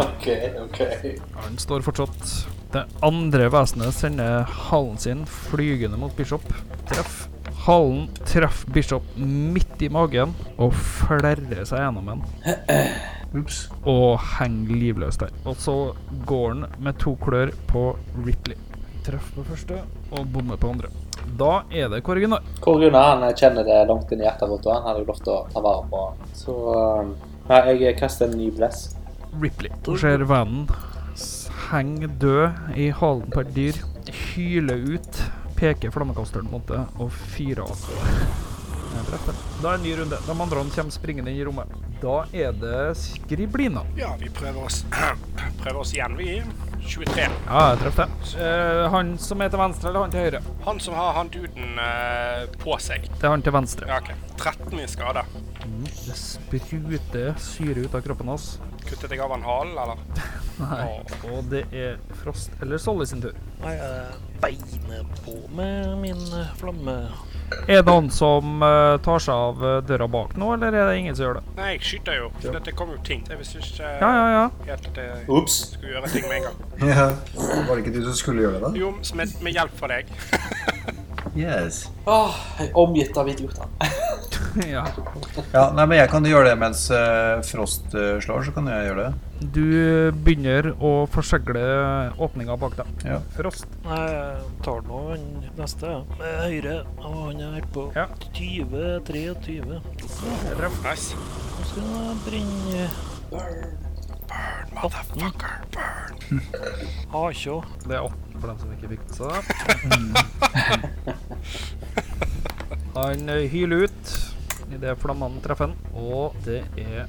Speaker 4: OK, OK.
Speaker 1: Han står fortsatt. Det andre vesenet sender halen sin flygende mot Bishop. Treff. Halen treffer Bishop midt i magen og flerrer seg gjennom den.
Speaker 5: Ups.
Speaker 1: og henger livløs der. Og så går han med to klør på Ripley. Treff på første og bommer på andre. Da er det Korgen, da.
Speaker 4: Hvor Gunnar han eh, kjenner det langt inn i hjerterota. Han hadde jo lov til å ta vare på han. Så um, ja, jeg kaster en ny bless.
Speaker 1: Ripley. Hun ser vennen s- henge død i halen på et dyr, hyler ut, peker flammekasteren mot det og fyrer av. Jeg treffer. Da er det en ny runde. De andre kommer springende inn i rommet. Da er det Skriblina.
Speaker 2: Ja, vi prøver oss, prøver oss igjen, vi. 23.
Speaker 1: Ja, jeg treffer. Eh, han som er til venstre, eller han til høyre?
Speaker 2: Han som har han duden eh, på seg.
Speaker 1: Det er han til venstre.
Speaker 2: Ja, OK. 13 i skade.
Speaker 1: Det spruter syre ut av kroppen hans.
Speaker 2: Kuttet jeg av han halen, eller?
Speaker 1: Nei.
Speaker 2: Åh.
Speaker 1: Og det er Frost eller Solly sin tur.
Speaker 3: Nei, jeg beiner på med min eh, flamme.
Speaker 1: Er det han som eh, tar seg av eh, døra bak nå, eller er det ingen som gjør det?
Speaker 2: Nei, jeg skyter jo. For dette kom jo ting. Jeg visste ikke eh,
Speaker 1: Ja, ja, ja.
Speaker 2: helt at jeg
Speaker 4: Ops.
Speaker 2: skulle gjøre ting med en gang.
Speaker 5: Ja. Var det ikke du som skulle gjøre det, da?
Speaker 2: Jo, med, med hjelp fra deg.
Speaker 5: Yes.
Speaker 4: Åh, jeg er omgitt av idioter.
Speaker 1: ja.
Speaker 5: Ja, nei, men jeg kan gjøre det mens eh, Frost eh, slår, så kan jeg gjøre det.
Speaker 1: Du begynner å forsegle åpninga bak deg.
Speaker 5: Ja.
Speaker 1: Frost.
Speaker 3: Nei, jeg tar nå han neste, ja. Med høyre. Og han er helt på
Speaker 1: Ja.
Speaker 3: 20, 23.
Speaker 1: Jeg treffer.
Speaker 2: Nice.
Speaker 3: Nå skal jeg brenne
Speaker 2: Burn, motherfucker. Burn.
Speaker 3: Hakjå.
Speaker 1: Det er 18 for dem som ikke fikk det seg. Han eh, hyler ut idet flammene treffer han, og det er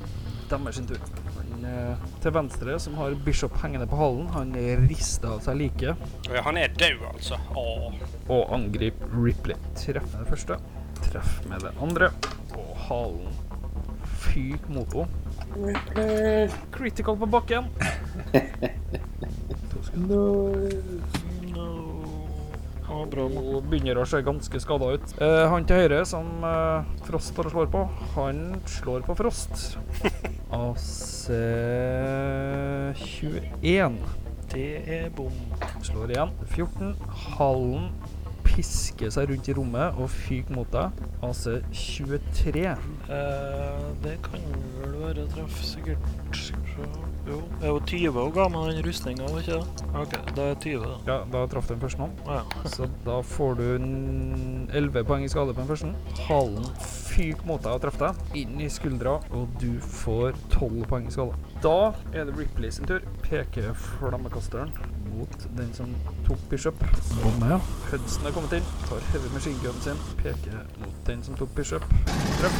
Speaker 1: deres sin tur. Han eh, til venstre, som har Bishop hengende på halen, han rister av seg liket.
Speaker 2: Ja, Han er død, altså. Åh.
Speaker 1: og angrip Ripley. Treff med det første, treff med det andre, og halen fyk mot henne. Critical på bakken. To sekunder.
Speaker 3: No. Ja, bra. mann.
Speaker 1: Hun begynner å se ganske skada ut. Eh, han til høyre som eh, Frost står og slår på, han slår på Frost. AC 21.
Speaker 3: Det er bom.
Speaker 1: Slår igjen. 14. Halen pisker seg rundt i rommet og fyker mot deg. AC 23.
Speaker 3: Eh, det kan vel være treff, sikkert. Skal vi se. Jo, det er jo 20 hun ga meg den rustninga, var ikke det? OK, da er 20, da.
Speaker 1: Ja, da traff den første nå.
Speaker 3: Ja, ja.
Speaker 1: Så da får du n- 11 poeng i skade på den første. Halen fyker mot deg og treffer deg inn i skuldra, og du får 12 poeng i skade. Da er det Ripley sin tur. Peker flammekasteren mot den som tok Bishop. Bomme, Sånn, ja. Hudson er kommet inn. Tar heavy machine gun sin. Peker mot den som tok Bishop. Treff.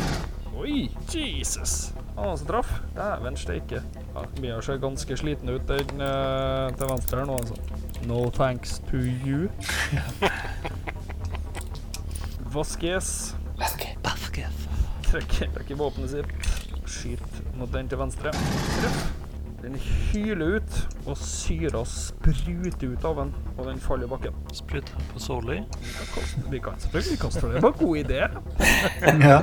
Speaker 1: Oi, Jesus! Han som traff. Dæven steike. Ja, Begynner å se ganske sliten ut, den eh, til venstre her nå, altså. No thanks to you. Vasques trekker, trekker våpenet sitt, skyter mot den til venstre. Treff. Den hyler ut, og syra spruter ut av den, og den faller i bakken.
Speaker 3: Sprutt på Solly.
Speaker 1: Vi kan selvfølgelig kaste for det. Det var en god idé.
Speaker 5: Ja.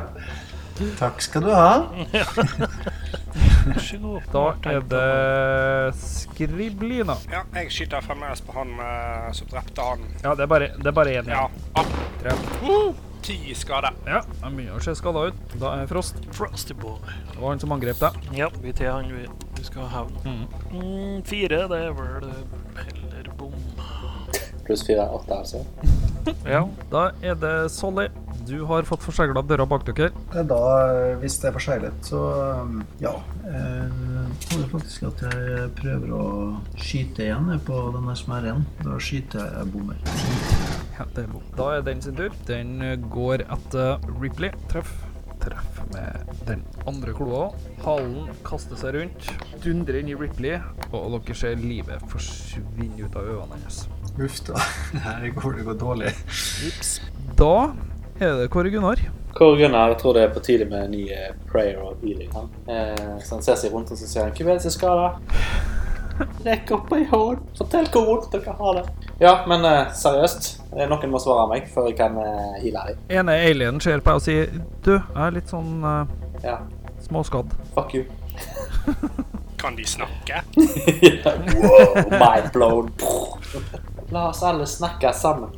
Speaker 5: Takk skal du ha.
Speaker 3: Vær så god.
Speaker 1: Da er det Skriblina.
Speaker 2: Ja, jeg skyter fremdeles på han eh, som drepte han.
Speaker 1: Ja, det er bare det er bare én
Speaker 2: Ja.
Speaker 1: igjen.
Speaker 2: Ah,
Speaker 1: Treff.
Speaker 2: Ti i skade.
Speaker 1: Ja, han begynner å se skada ut. Da er Frost.
Speaker 3: Frosty boy.
Speaker 1: Det var han som angrep deg.
Speaker 3: Ja, vi til han vi, vi skal ha hevn.
Speaker 1: Mm.
Speaker 3: Mm, fire, det er vel eh, heller bom.
Speaker 4: Pluss fire er åtte, altså.
Speaker 3: Ja.
Speaker 1: Da er det Solly. Du har fått forsegla døra bak dere.
Speaker 5: Eh, Da, eh, hvis det er forseglet, så um, ja. Jeg tror jeg faktisk at jeg eh, prøver å skyte igjen jeg, på den der som er igjen. Da skyter jeg bommer.
Speaker 1: Ja, det er bom. Da er den sin tur. Den eh, går etter eh, Ripley. Treff. treff med den andre kloa. Halen kaster seg rundt, dundrer inn i Ripley, og dere ser livet forsvinne ut av øynene hennes.
Speaker 5: Uff da. Her går det går dårlig.
Speaker 1: Da er det Kåre Gunnar.
Speaker 4: Kåre Gunnar jeg tror det er på tide med nye prayer og healing. Han. Eh, så han ser seg rundt og så sier han, hvem er det som er skada? Rekk opp ei hånd. Fortell hvor vondt dere har det. Ja, men eh, seriøst. eh, Noen må svare meg før jeg kan eh, heale deg.
Speaker 1: ene alienen ser på deg og sier Du, jeg er litt sånn eh,
Speaker 4: Ja,
Speaker 1: småskadd.
Speaker 4: fuck you.
Speaker 2: Kan de snakke?
Speaker 4: wow, mind blown. La oss alle snakke sammen.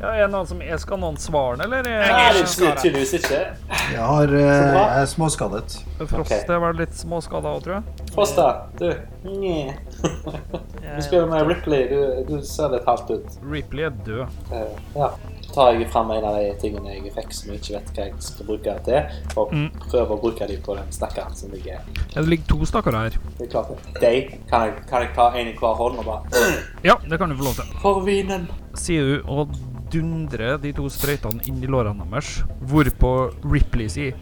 Speaker 1: Ja, er det noen som er Skal noen svare, eller?
Speaker 4: Nei,
Speaker 1: Er,
Speaker 4: det er tydeligvis ikke.
Speaker 5: Jeg, har, eh, jeg er småskadet.
Speaker 1: Frost er vel litt småskada òg, tror jeg.
Speaker 4: Frosta, du. Nye. Du spiller med Ripley. Du, du ser litt halvt ut.
Speaker 1: Ripley er død.
Speaker 4: Eh, ja. Så tar jeg fram en av de tingene jeg fikk som jeg ikke vet hva jeg skal bruke det til, og
Speaker 1: Mm.
Speaker 4: prøver å bruke dem på den stakkaren som ligger
Speaker 1: Ja, det ligger to stakkarer her.
Speaker 4: Det er klart, de kan jeg, kan jeg ta en i hver hånd og bare
Speaker 1: Ja, det kan du få lov til.
Speaker 4: For vinen!
Speaker 1: Sier du og dundrer de to sprøytene inn i lårene deres, hvorpå Ripley sier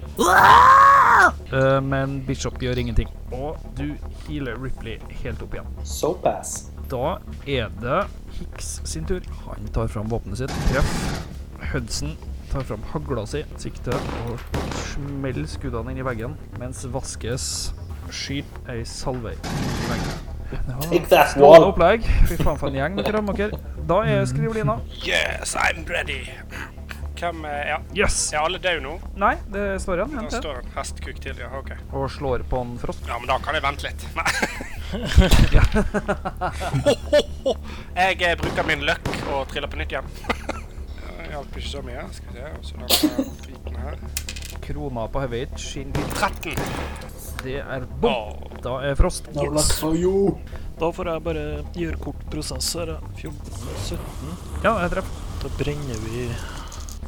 Speaker 1: Eh, Men Bishop gjør ingenting. Og du healer Ripley helt opp igjen.
Speaker 4: Sopass.
Speaker 1: Da er det Hicks sin tur. Han tar fram våpenet sitt. Treff. Hudson tar fram hagla si, sikter og smeller skuddene inn i veggen, mens Vaskes skyter ei salve inn i veggen. Ja,
Speaker 4: Take that
Speaker 1: Strålende
Speaker 4: wall!
Speaker 1: opplegg. Fy faen for en gjeng dere har med dere. Da er skrivelina.
Speaker 2: Yes, I'm ready. Hvem eh, ja.
Speaker 1: Yes!
Speaker 2: Er alle døde nå?
Speaker 1: Nei, det står igjen.
Speaker 2: Da
Speaker 1: en til.
Speaker 2: står en hestkuk til, ja. OK.
Speaker 1: Og slår på en frost.
Speaker 2: Ja, men da kan jeg vente litt. Nei. jeg eh, bruker min løkk og triller på nytt igjen. Det hjalp ikke så mye. Skal vi se. Og så den eh, driten her.
Speaker 1: Krona på hodet ditt skinner litt.
Speaker 2: 13.
Speaker 1: Det er bom. Da er frost.
Speaker 4: No luck for you!
Speaker 3: Da får jeg bare gjøre kort prosess her. ja. 14, 17.
Speaker 1: Ja, jeg treffer.
Speaker 3: Da brenner vi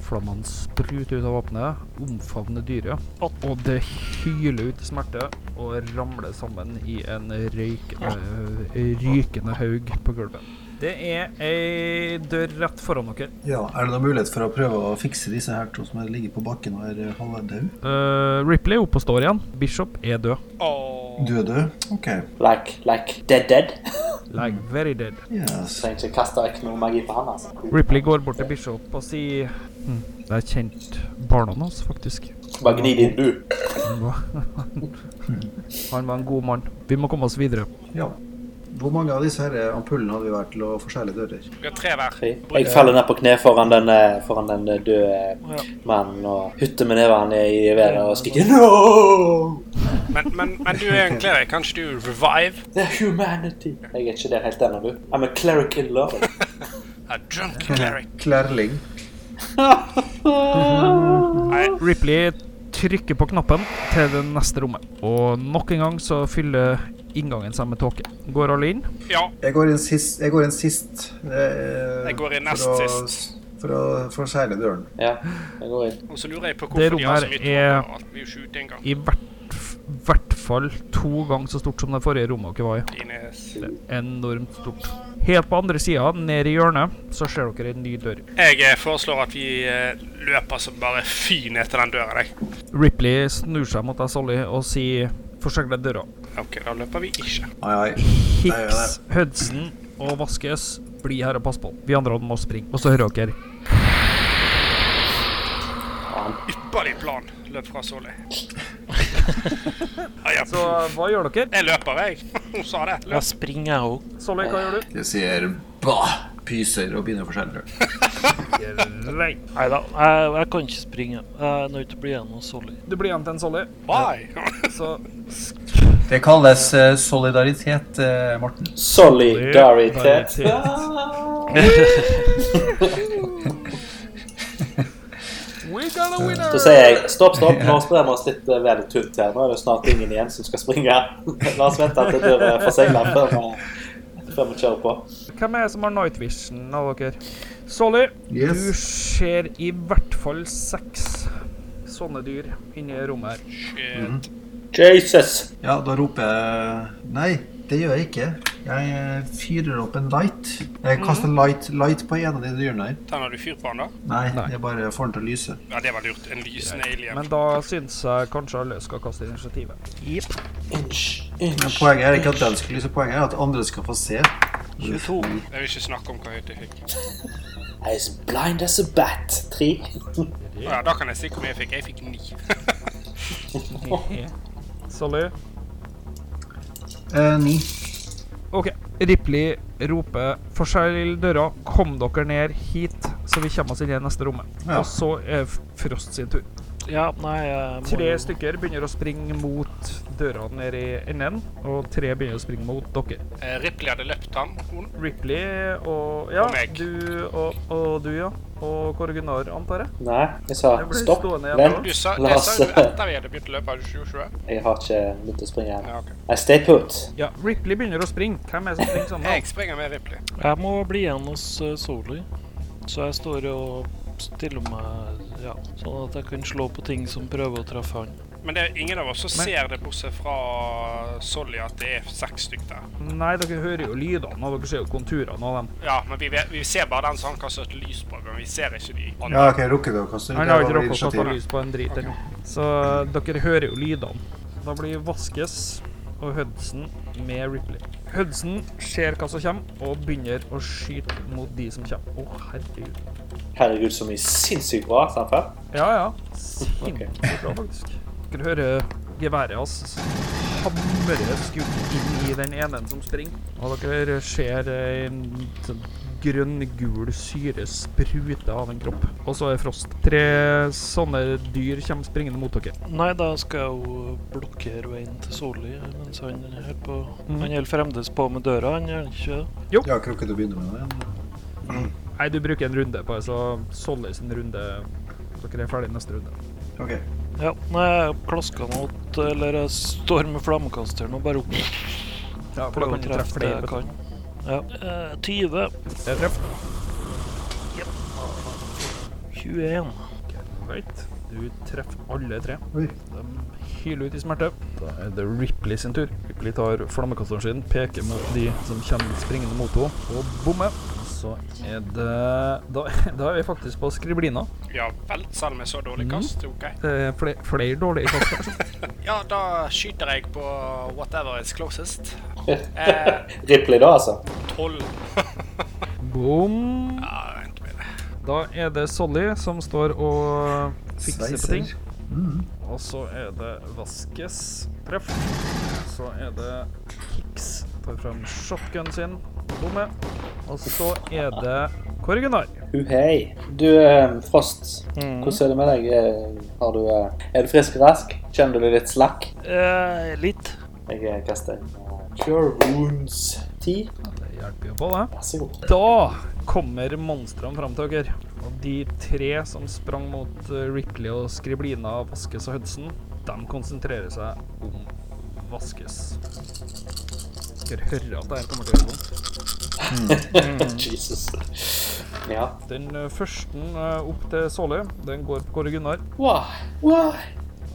Speaker 1: Flammene spruter ut av våpenet, omfavner dyret,
Speaker 3: Åt.
Speaker 1: og det hyler ut smerte og ramler sammen i en røykende, rykende haug på gulvet. Det er ei dør rett foran dere.
Speaker 5: Ja, Er det noen mulighet for å prøve å fikse disse her to som ligger på bakken og er eh, halvdau?
Speaker 1: Eh, Ripley er oppe og står igjen. Bishop er død.
Speaker 2: Åh.
Speaker 5: Døde? OK.
Speaker 4: Like, like, dead dead.
Speaker 1: Like very dead.
Speaker 5: Yes.
Speaker 4: Trenger ikke kaste vekk noe magi på han, altså.
Speaker 1: Ripley går bort til Bishop og sier hm, Det er kjent barna hans, faktisk.
Speaker 4: Bare gni det inn, du.
Speaker 1: Han var, han var en god mann. Vi må komme oss videre.
Speaker 5: Ja. Hvor mange av disse her ampullene hadde vi vært til å forsegle dører?
Speaker 2: Vi har tre hver.
Speaker 4: Jeg faller ned på kne foran den, eh, foran den eh, døde mannen og hytter med nevene i været og skriker No!
Speaker 2: Men, men, men du er en cleric. Kan ikke du revive?
Speaker 4: The humanity! Jeg er ikke der helt ennå, du. I'm a cleric in love.
Speaker 2: A drunk cleric.
Speaker 5: Klærling.
Speaker 1: Ripley trykker på knappen til det neste rommet. Og nok en gang så fyller inngangen seg med tåke. Går alle inn?
Speaker 2: Ja.
Speaker 5: Jeg går inn sist. Jeg går inn sist eh,
Speaker 2: Jeg går inn nest
Speaker 5: for å, For å forsegle døren.
Speaker 4: Ja, jeg går inn.
Speaker 2: Og så lurer jeg på
Speaker 1: Det
Speaker 2: hvorfor de har så
Speaker 1: rommet
Speaker 2: mye
Speaker 1: her er-
Speaker 2: tårer. Vi er jo ikke ute engang.
Speaker 1: I hvert, hvert fall to ganger så stort som det forrige rommet dere var i.
Speaker 2: Ines.
Speaker 1: Enormt stort. Helt på andre sida, ned i hjørnet, så ser dere en ny dør.
Speaker 2: Jeg eh, foreslår at vi eh, løper som bare fy ned til den døren, jeg.
Speaker 1: Ripley snur seg mot deg, Solly, og sier Forsegler døra.
Speaker 2: OK, da løper vi ikke.
Speaker 5: Ai, ai.
Speaker 1: Hicks, Hudson og Vaskes, bli her og pass på. Vi andre må springe. Og så hører dere
Speaker 2: Ypperlig plan. Løp fra Solly. Ja, ja.
Speaker 1: Så hva gjør dere?
Speaker 2: Jeg løper, jeg. Hun sa det. Løp.
Speaker 3: Jeg springer, jeg òg.
Speaker 1: Solly, hva gjør du?
Speaker 5: Jeg sier bah! Pyser og begynner å forsegle døren.
Speaker 1: Greit.
Speaker 3: Nei da, jeg, jeg kan ikke springe. Jeg er nødt til å bli igjen hos Solly.
Speaker 1: Du blir igjen til en Solly.
Speaker 2: Bye.
Speaker 1: Så
Speaker 5: Det kalles eh, solidaritet, eh, Morten.
Speaker 4: Solidaritet.
Speaker 1: We got a winner!
Speaker 4: Så sier jeg stopp, stopp, nå sprer vi oss litt eh, veldig tynt her. Nå er det snart ingen igjen som skal springe. La oss vente til døra er forsegla eh, før, vi- før vi kjører på.
Speaker 1: Hvem er det som har night vision av dere? Solly, du
Speaker 5: Yes.
Speaker 1: ser i hvert fall seks sånne dyr inni rommet her.
Speaker 2: Shit.
Speaker 4: Jesus!
Speaker 5: Ja, da roper jeg Nei, det gjør jeg ikke. Jeg eh, fyrer opp en light. Jeg kaster light, light på en av de dyrene her.
Speaker 2: Tenner du fyr på han da?
Speaker 5: Nei,
Speaker 1: Nei.
Speaker 5: jeg bare får den til å lyse.
Speaker 2: Ja, det var lurt. En lysende alien.
Speaker 1: Men da syns jeg kanskje alle skal kaste initiativet.
Speaker 5: Men poenget er ikke at den skal lyse, poenget er at andre skal få se.
Speaker 3: 22.
Speaker 2: Jeg vil ikke snakke om hva høyt jeg fikk.
Speaker 4: As blind as a bat. Tre.
Speaker 2: Ja, da kan jeg si hvor mye jeg fikk. Jeg fikk ni.
Speaker 1: Sally?
Speaker 5: Eh, ni.
Speaker 1: OK. Ripley roper 'forsegl døra, kom dere ned hit', så vi kommer oss inn i det neste rommet.
Speaker 5: Ja.
Speaker 1: Og så er F- Frost sin tur.
Speaker 3: Ja, nei jeg må
Speaker 1: Tre
Speaker 3: jo-
Speaker 1: stykker begynner å springe mot døra nede i enden, og tre begynner å springe mot dere.
Speaker 2: Eh, Ripley hadde løpt han. Hun.
Speaker 1: Ripley og Ja,
Speaker 2: Og meg.
Speaker 1: du og, og du, ja. Og Korgunar, antar jeg.
Speaker 4: Nei, jeg sa
Speaker 1: Jeg ble
Speaker 4: stopp.
Speaker 1: stående igjen
Speaker 4: Vent.
Speaker 2: Du sa,
Speaker 4: La
Speaker 2: det
Speaker 4: oss
Speaker 2: sa du etter vi hadde begynt å løpe. Hadde du ikke gjort det?
Speaker 4: Jeg har ikke begynt å springe
Speaker 2: Ja,
Speaker 4: ennå.
Speaker 2: ok.
Speaker 4: Nei, stay put.
Speaker 1: Ja, Ripley begynner å springe. Hvem er det som springer sammen? med
Speaker 2: Jeg springer med Ripley.
Speaker 3: Jeg må bli igjen hos eh, Soli. Så jeg står og stiller meg ja, sånn at jeg kan slå på ting som prøver å treffe han.
Speaker 2: Men det er ingen av oss som ser det, bortsett fra Solly, at det er seks stykker der.
Speaker 1: han? Nei, dere hører jo lydene, og dere ser jo konturene av dem.
Speaker 2: Ja, men vi, vet- vi ser bare den som han kastet lys på, men vi ser ikke de andre.
Speaker 5: Ja, ok, rukker du å kaste ut?
Speaker 1: Han har
Speaker 5: Jeg
Speaker 1: ikke
Speaker 5: var på
Speaker 1: rukket å kaste
Speaker 5: initiativ.
Speaker 1: lys på en drit ennå. Så dere hører jo lydene. Da blir Vaskes og Hudson med Ripley. Hudson ser hva som kommer, og begynner å skyte mot de som kommer. Å, herregud.
Speaker 4: Herregud, så mye sinnssykt bra. Samfer.
Speaker 1: Ja, ja. Sinnssykt bra, faktisk. Dere hører geværet hans hamre skutt inn i den ene som springer. Og dere ser eh, en sånn grønn-gul syre sprute av en kropp. Og så er Frost. Tre sånne dyr kommer springende mot dere.
Speaker 3: Nei, da skal jeg jo blokkere veien til Soli mens han holder på.
Speaker 1: Mm.
Speaker 3: Han holder fremdeles på med døra, han gjør ikke det?
Speaker 5: Jeg har ikke rukket å begynne med det.
Speaker 1: Nei, du bruker en runde på det, så Solly sin runde Dere er ferdig neste runde.
Speaker 5: Ok.
Speaker 3: Ja, nei, jeg klasker meg åt, eller jeg står med flammekasteren og bare opp
Speaker 1: Ja, for da
Speaker 3: prøver
Speaker 1: kan
Speaker 3: å
Speaker 1: du treffe
Speaker 3: treffe det
Speaker 1: flere.
Speaker 3: jeg
Speaker 1: vet
Speaker 3: kan. Ja. Eh, 20.
Speaker 1: du. Det er treff.
Speaker 3: 21.
Speaker 1: Right. Du treffer alle tre.
Speaker 5: Oi.
Speaker 1: De hyler ut i smerte. Da er det Ripley sin tur. Ripley tar flammekasteren sin, peker mot de som kommer springende mot henne, og bommer. Så er det Da, da er vi faktisk på skriblina.
Speaker 2: Ja vel, selv om jeg så
Speaker 1: Mhm.
Speaker 2: dårlig kast. Ok.
Speaker 1: Det er Eh, fle, flere dårlige kast. her.
Speaker 2: Ja, da skyter jeg på whatever is closest. Eh,
Speaker 4: Ripley, da, altså.
Speaker 2: 12.
Speaker 1: Bom.
Speaker 2: Ja, vent med det.
Speaker 1: Da er det Solly som står og fikser på ting.
Speaker 5: Mm.
Speaker 1: Og så er det Vaskes treff. Så er det Hicks tar fram shotgunen sin. Bomme. Og så er det Korgunar.
Speaker 4: Uhei. Uh, Du, eh, Frost,
Speaker 3: Mm.
Speaker 4: hvordan er det med deg? Eh, Har du, eh, er du frisk og rask? Kjenner du deg litt slakk?
Speaker 3: Eh, litt.
Speaker 4: Jeg eh, kaster en eh, Cure Wounds 10.
Speaker 1: Det hjelper jo på, det.
Speaker 4: Vær så god.
Speaker 1: Da kommer monstrene fram til dere. Og de tre som sprang mot eh, Ripley og Skriblina, Vaskes og Hudson, de konsentrerer seg om Vaskes. Dere hører at det her kommer til å gjøre vondt.
Speaker 4: Jesus. Ja.
Speaker 1: Den eh, første eh, opp til Solly, den går på Kåre Gunnar.
Speaker 4: Why? Why?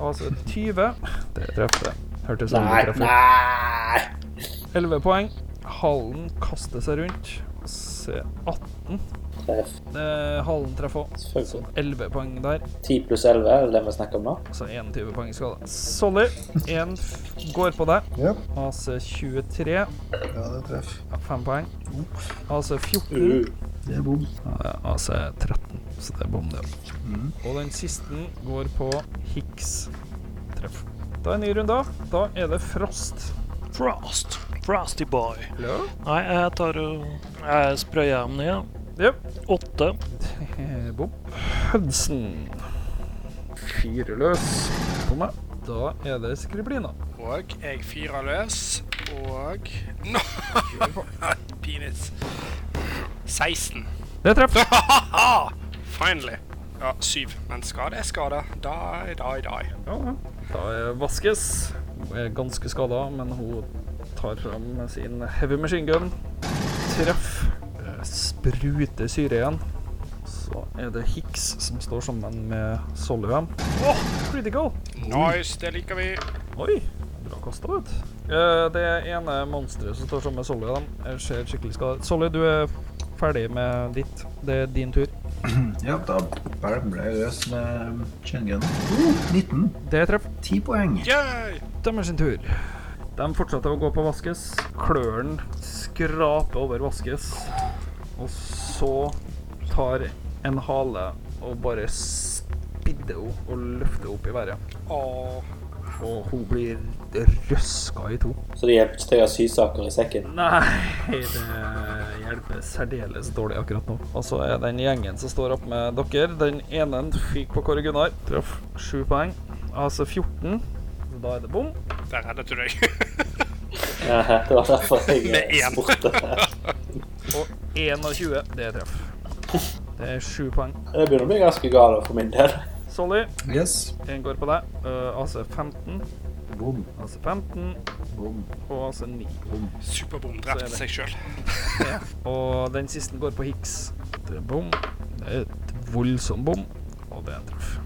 Speaker 1: Altså 20. Det sånn treffer. Hørtes ut som
Speaker 4: Nei,
Speaker 1: det treffer.
Speaker 4: nei!
Speaker 1: 11 poeng. Halen kaster seg rundt. Se 18.
Speaker 4: Treff.
Speaker 1: Eh, halen treffer òg.
Speaker 4: Selvfølgelig.
Speaker 1: 11 poeng der.
Speaker 4: 10 pluss 11 er det det vi snakker om nå?
Speaker 1: Så 21 poeng i skade. Solly, én f- går på deg.
Speaker 5: Ja.
Speaker 1: AC 23.
Speaker 5: ja, det treff.
Speaker 1: 5 poeng. AC 14.
Speaker 4: Uh.
Speaker 5: Det er bom.
Speaker 1: Ja, AC 13, så det er bom, det. Og den siste går på Hicks treff. Da er en ny runde. Da er det Frost.
Speaker 3: Frost. Frosty boy.
Speaker 1: Hello?
Speaker 3: Nei, jeg tar og Jeg sprøyer dem ned.
Speaker 1: Yep.
Speaker 3: Åtte.
Speaker 1: Bom. Hudson. Fire løs på meg. Da er det Skriblina.
Speaker 2: Og jeg fyrer løs, og Nå! Penis. 16.
Speaker 1: Det treffer.
Speaker 2: Finally. Ja, syv. Men skade er skade. Die, die, die.
Speaker 1: Ja, ja. Da er Vaskes. Hun er ganske skada, men hun tar fram sin heavy machine gun. Treff. Eh, Spruter syre igjen. Så er det Hicks som står sammen med Solheim. Åh, critical!
Speaker 2: Nice, det liker vi.
Speaker 1: Oi, bra kasta, vet du. Eh, Det ene monsteret som står sammen med Solly, da, jeg ser skikkelig skadet Solly, du er ferdig med ditt. Det er din tur.
Speaker 5: Ja, da bælmer jeg løs med Schengen. Oh, 19.
Speaker 1: Det treffer.
Speaker 5: 10 poeng.
Speaker 2: Yay!
Speaker 1: Dømmer sin tur. De fortsetter å gå på Vaskes. Klørne skraper over Vaskes. Og så tar en hale og bare spidder henne og løfter henne opp i været.
Speaker 2: Åh.
Speaker 1: Og hun blir røska i to.
Speaker 4: Så det hjelper ikke til å ha sysaker i sekken.
Speaker 1: Nei, det hjelper særdeles dårlig akkurat nå. Og så er den gjengen som står opp med dere. Den ene fikk på Kåre Gunnar. Traff sju poeng. Altså 14. Så da er det bom.
Speaker 2: Der reddet du deg.
Speaker 4: Ja, det var derfor
Speaker 2: Med
Speaker 4: jeg eh,
Speaker 2: én.
Speaker 4: spurte.
Speaker 1: 21. Det er treff. Det er sju poeng.
Speaker 4: Jeg begynner å bli ganske gal for min del.
Speaker 1: Solly,
Speaker 5: Yes.
Speaker 1: én går på deg. Eh, AC 15,
Speaker 5: Bom,
Speaker 1: AC 15
Speaker 5: bom.
Speaker 1: og AC 9.
Speaker 2: Superbom
Speaker 1: Så er det.
Speaker 2: drept seg sjøl.
Speaker 1: Og den siste går på Hicks. Det er bom. Det er et voldsomt bom, og det er en treff.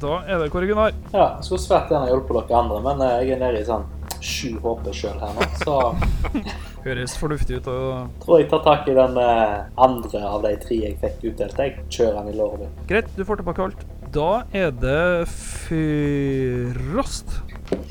Speaker 1: Da er det Kåre Gunnar.
Speaker 4: Ja, jeg skulle svært gjerne hjulpet dere andre, men eh, jeg er nede i sånn sju HP sjøl her nå, så
Speaker 1: Høres fornuftig ut og
Speaker 4: tror jeg tar tak i den eh, andre av de tre jeg fikk utdelt. Jeg kjører den i låret mitt.
Speaker 1: Greit, du får tilbake alt. Da er det Frost.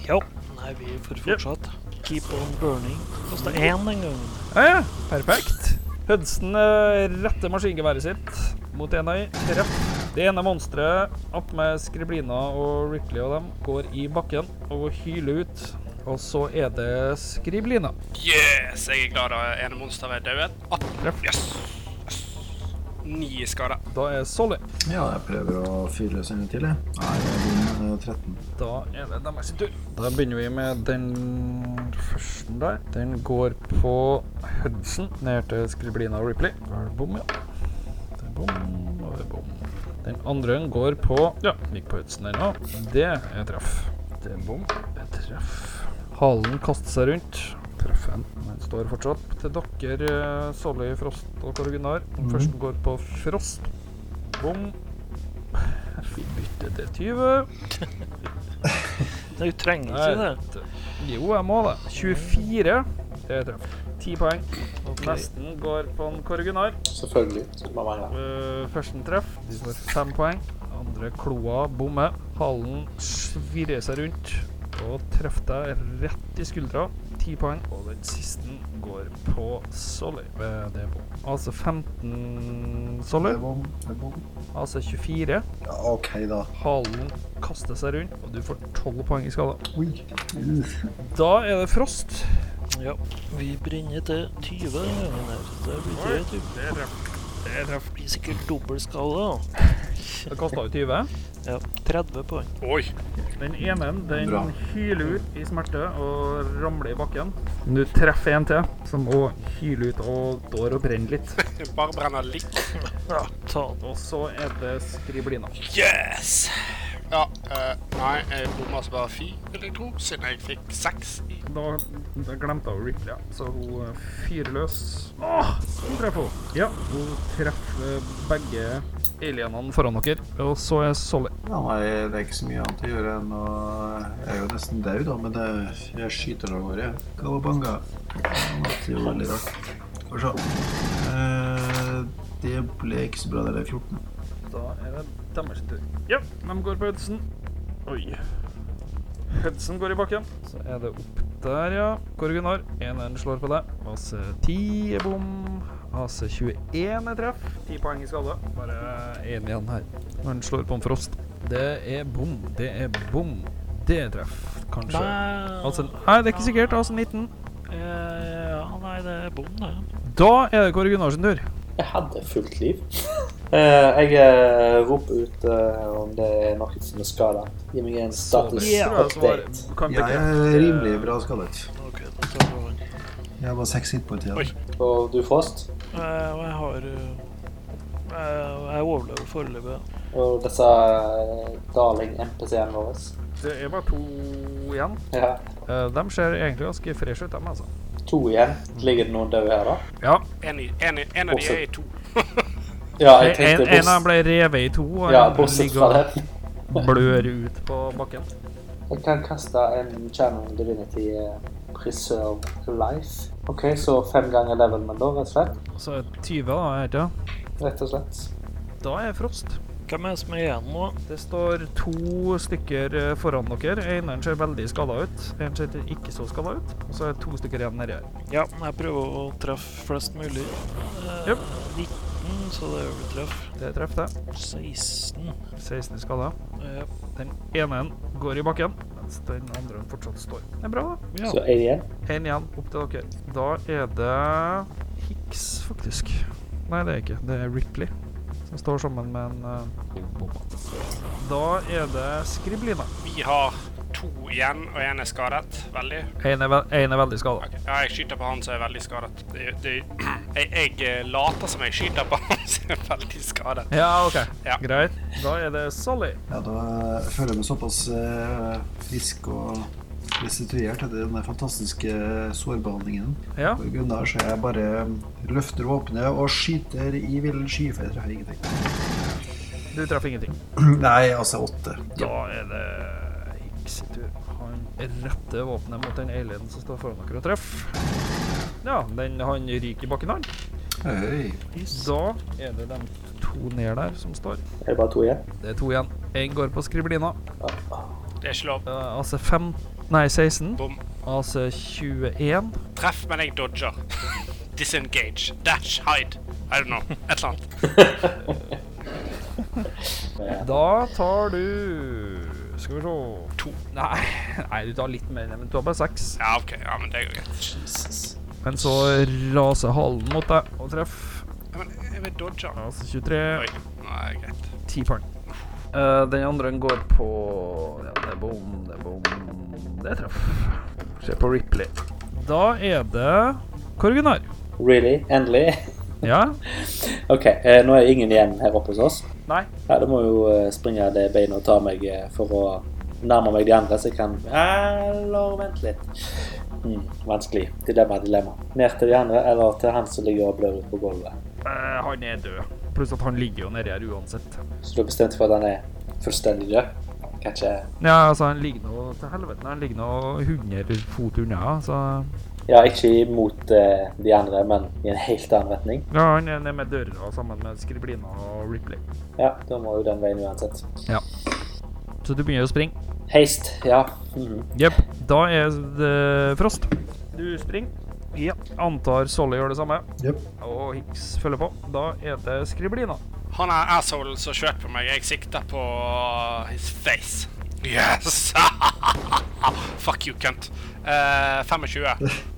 Speaker 3: Ja. Nei, vi får fortsatt. Keep on burning. Kosta én den gangen.
Speaker 1: Ja, ja. Perfekt. Hudson eh, retter maskingeværet sitt mot en av de. Treff. Det ene monsteret, attmed Skriblina og Ripley og dem, går i bakken og hyler ut. Og så er det Skriblina.
Speaker 2: Yes, jeg er glad da ene monsteret er død. 18.
Speaker 1: Treff.
Speaker 2: Yes. Yes. Ni skader.
Speaker 1: Da er Solly.
Speaker 5: Ja, jeg prøver å fyre løs en gang til, jeg. Nei, det er bom eh, 13.
Speaker 1: Da er det deres tur. Da begynner vi med den første der. Den går på Hudson ned til Skriblina og Ripley. Da er det bom, ja. Det er bom, og det er bom. Den andre går på Ja, gikk på Hudson der nå. Det er treff. Det er bom. Det er treff. Halen kaster seg rundt. Treffer en. Den står fortsatt til dere, eh, Solly, Frost og Korgunar. Den første går på Frost. Bom. Vi bytter til 20.
Speaker 3: Nei, du trenger ikke
Speaker 1: Nei.
Speaker 3: det.
Speaker 1: Jo, jeg må det. 24. Det treffer. 10 poeng.
Speaker 3: Ok.
Speaker 1: Nesten går på en Korgunar.
Speaker 4: Selvfølgelig. Skulle man mangle.
Speaker 1: Uh, første treff. De får 5 poeng. Andre kloa bommer. Halen svirrer seg rundt og treffer deg rett i skuldra. 10 poeng. Og den siste går på Solly. Eh, Det er bom. AC 15
Speaker 5: Det
Speaker 1: Solly.
Speaker 5: er bom, det er bom.
Speaker 1: AC 24.
Speaker 5: Ja, OK, da.
Speaker 1: Halen kaster seg rundt, og du får 12 poeng i skade.
Speaker 5: Oi. Uh.
Speaker 1: Da er det Frost.
Speaker 3: Ja. Vi brenner til 20 den gangen her. Det blir det, typ.
Speaker 1: Det treffer. Det treffer.
Speaker 3: Blir sikkert dobbel skade, da.
Speaker 1: Det kasta jo 20.
Speaker 3: Ja. 30 poeng.
Speaker 2: Oi.
Speaker 1: Den ene den
Speaker 5: Bra.
Speaker 1: hyler ut i smerte og ramler i bakken. Du treffer en til, som òg hyler ut og står og brenner litt.
Speaker 2: Jeg bare brenner litt.
Speaker 3: Ja, ta den.
Speaker 1: Og så er det skriblina.
Speaker 2: Yes. Ja, eh, nei, jeg bomma så bare fy, vil jeg tro, siden jeg fikk seks i
Speaker 1: Da, da glemte hun Ripley, ja. så hun eh, fyrer løs. Åh, hun treffer hun. Ja, hun treffer begge alienene foran dere. Og så er Solly.
Speaker 5: Ja, nei, det er ikke så mye annet å gjøre enn å Jeg er jo nesten død, da, men det, jeg skyter av gårde. Kawabanga. Det er jo veldig rart. Skal vi se. Eh, det ble ikke så bra, det der 14.
Speaker 1: Da er det deres tur. Ja, de går på Hudson. Oi. Hudson går i bakken. Så er det opp der, ja. Korgunar, 1-1 slår på deg. AC10 er bom. AC21 er treff. 10 poeng i skade. Bare én igjen her. Når han slår på en frost. Det er bom. Det er bom. Det er treff, kanskje. AC Nei, det er ikke sikkert. Altså, AC19.
Speaker 3: Eh, Ja, nei, det er bom, det.
Speaker 1: Da er det Kåre Gunnar sin tur.
Speaker 4: Jeg hadde fullt liv. Eh, jeg eh, roper ut eh, om det er noen som er skada. Gi meg en status
Speaker 1: Ja, så var-
Speaker 4: update.
Speaker 1: kan
Speaker 5: Jeg er
Speaker 1: bekrefte-
Speaker 5: rimelig bra skadet.
Speaker 3: OK, da tar vi den.
Speaker 5: Jeg har bare seks hit på tida.
Speaker 2: Oi.
Speaker 4: Og du, Frost,
Speaker 3: Eh, Og jeg har eh, eh, Jeg overlever foreløpig. ja.
Speaker 4: og disse eh, darling NPC-ene våre.
Speaker 1: Det er bare to igjen.
Speaker 4: Ja.
Speaker 1: Eh, de ser egentlig ganske fresh ut, dem, altså.
Speaker 4: To igjen. Ligger det noen døde her, da?
Speaker 1: Ja.
Speaker 2: En, i- en, i- en av de er i to.
Speaker 4: Ja, jeg
Speaker 1: En,
Speaker 4: tenkte
Speaker 1: en av dem
Speaker 4: bortsett,
Speaker 1: ble revet i to, og
Speaker 4: ja,
Speaker 1: en
Speaker 4: bortsett fra
Speaker 1: ligger
Speaker 4: den.
Speaker 1: og blør ut på bakken.
Speaker 4: Jeg kan kaste en Channel Divinity eh, Preserve life. OK, så fem ganger levelmen, da, rett og slett?
Speaker 1: Så 20, da, er det ikke?
Speaker 4: Rett og slett.
Speaker 1: Da er Frost.
Speaker 3: Hvem er det som er igjen nå?
Speaker 1: Det står to stykker eh, foran dere. Eneren ser veldig skada ut. En ser ikke så skada ut. Og så er det to stykker igjen nedi her.
Speaker 3: Ja, jeg prøver å treffe flest mulig. Eh,
Speaker 1: Jep.
Speaker 3: 19, så det blir treff.
Speaker 1: Det treffer det.
Speaker 3: 16.
Speaker 1: 16 i skada.
Speaker 3: Ja.
Speaker 1: Den ene går i bakken, mens den andre fortsatt står. Det er bra, da.
Speaker 3: ja.
Speaker 4: Så én igjen.
Speaker 1: Én igjen opp til dere. Da er det Hicks, faktisk. Nei, det er ikke. Det er Ripley. Som står sammen med en eh, Da er det Skriblina.
Speaker 2: Vi har to igjen, og én er skadet. Veldig.
Speaker 1: Én er, ve en er veldig skada.
Speaker 2: Ok, Ja, jeg skyter på han som er veldig skadet. Det, det, jeg, jeg eh, later som jeg skyter på han som er veldig skadet.
Speaker 1: Ja, OK.
Speaker 2: Ja.
Speaker 1: Greit. Da er det Sally.
Speaker 5: Ja, da jeg føler jeg meg såpass eh, frisk og restituert etter den der fantastiske sårbehandlingen.
Speaker 1: Ja.
Speaker 5: På grunn av så jeg bare eh, løfter våpenet og skyter i villen sky, for jeg treffer ingenting.
Speaker 1: Du traff ingenting.
Speaker 5: Nei, altså åtte.
Speaker 1: Da er det Hicks sin tur. Han retter våpenet mot den alienen som står foran dere og treffer. Ja, den han ryker i bakken, han.
Speaker 5: Høy.
Speaker 1: Da er det de to ned der som står.
Speaker 4: Er det bare to igjen?
Speaker 1: Det er to igjen. Én går på skriblina.
Speaker 2: Det er ikke lov.
Speaker 1: Eh, AC 5 Nei, 16.
Speaker 2: Bom.
Speaker 1: AC 21.
Speaker 2: Treff, men jeg dodger. Disengage. Dash. Hide. I don't know. Et eller annet.
Speaker 1: Da tar du Skal vi se To. Nei, nei du tar litt mer, men du har bare seks.
Speaker 2: Ja, OK. Ja, men det går greit.
Speaker 4: Jesus.
Speaker 1: Men så raser halen mot deg og treffer.
Speaker 2: Ja, men jeg vil dodge.
Speaker 1: AC 23.
Speaker 2: Oi. Nei, greit.
Speaker 1: 10 poeng. Eh, den andre går på Ja, det er bom, det er bom Det traff. Se på Ripley. Da er det Korgunar.
Speaker 4: Really? Endelig?
Speaker 1: Ja?
Speaker 4: OK, eh, nå er det ingen igjen her oppe hos oss.
Speaker 1: Nei?
Speaker 4: Ja, da må jeg jo eh, springe det beinet og ta meg eh, for å nærme meg de andre, så jeg kan Eller vent litt. Mm, vanskelig. Dilemma, dilemma. Ned til de andre, eller til han som ligger og blør ut på gulvet.
Speaker 1: Eh, han er død. Pluss at han ligger jo nedi her uansett.
Speaker 4: Så du har bestemt for at han er fullstendig død? Kanskje
Speaker 1: Ja, altså, han ligger nå til helvete. Han ligger nå 100 fot unna, så
Speaker 4: Ja, ikke imot eh, de andre, men i en helt annen retning.
Speaker 1: Ja, han er nede med døra sammen med Skriblina og Ripley.
Speaker 4: Ja, da må jo den veien uansett.
Speaker 1: Så du begynner å springe.
Speaker 4: Heist, ja. Mhm.
Speaker 1: Jepp. Da er det Frost. Du springer. Ja. Antar Solly gjør det samme.
Speaker 5: Jep.
Speaker 1: Og Hicks følger på. Da er det Skriblina.
Speaker 2: Han er assholen som skjøt på meg. Jeg sikter på his face. Yes! Fuck you, cunt. Eh, 25.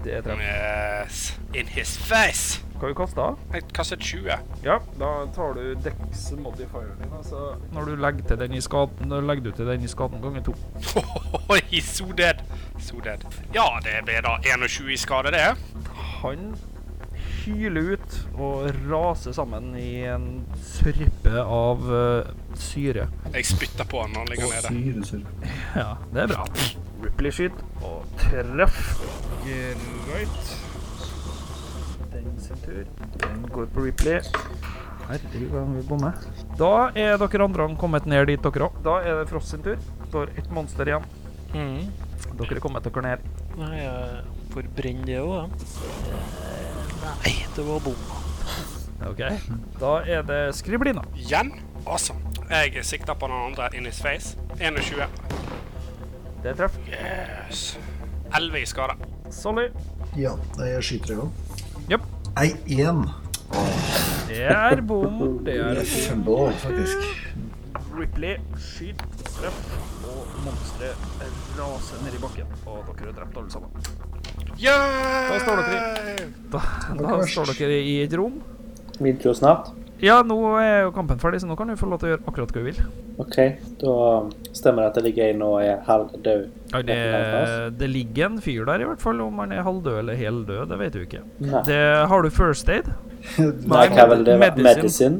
Speaker 1: Det treffer.
Speaker 2: Yes. In his face.
Speaker 1: Hva du kaste av?
Speaker 2: Jeg kastet 20.
Speaker 1: Ja, da tar du dex modifieren din. Altså, når du legger til den i skaden, da legger du til den i skaden ganger to.
Speaker 2: Oi, so dead. So dead. Ja, det ble da 21 i skade, det.
Speaker 1: Han hyler ut og raser sammen i en sørpe av eh, syre.
Speaker 2: Jeg spytter på han når han ligger nede.
Speaker 5: Syresølv.
Speaker 1: Ja, det er bra. Ripley skyter og treff. Greit. Den sin tur. Den går på Ripley. Herregud, hva vi bommer. Da er dere andre kommet ned dit dere òg. Da er det Frost sin tur. Står ett monster igjen.
Speaker 3: Mhm.
Speaker 1: Dere er kommet dere ned.
Speaker 3: Nei, jeg får brenne det òg, jeg. Eh, Nei, det var bom.
Speaker 1: Ok. Da er det Skriblina.
Speaker 2: Igjen? Awesome. Jeg sikter på den andre in his face. 21.
Speaker 1: Det treff.
Speaker 2: Yes. 11 i skade.
Speaker 1: Solly.
Speaker 5: Ja, nei, jeg skyter en gang.
Speaker 1: Jep.
Speaker 5: Nei, én.
Speaker 1: Det er bom. Det er
Speaker 5: Jeg fumble, faktisk.
Speaker 1: Ripley skyter treff, og monsteret raser ned i bakken. Og dere er drept alle sammen.
Speaker 2: Yeah!
Speaker 1: Da står dere Da, da
Speaker 5: Akkurat.
Speaker 1: står dere i et rom.
Speaker 4: Middag snart.
Speaker 1: Ja, nå er jo kampen ferdig, så nå kan du få lov til å gjøre akkurat hva du vil.
Speaker 4: OK, da um, stemmer det at det ligger en og er halvdød.
Speaker 1: Ja, det, det ligger en fyr der, i hvert fall. Om han er halvdød eller heldød, det vet du ikke.
Speaker 4: Nei.
Speaker 1: Det, har du first aid?
Speaker 4: Nei, hva vil det være?
Speaker 1: medicine.
Speaker 4: Medisin?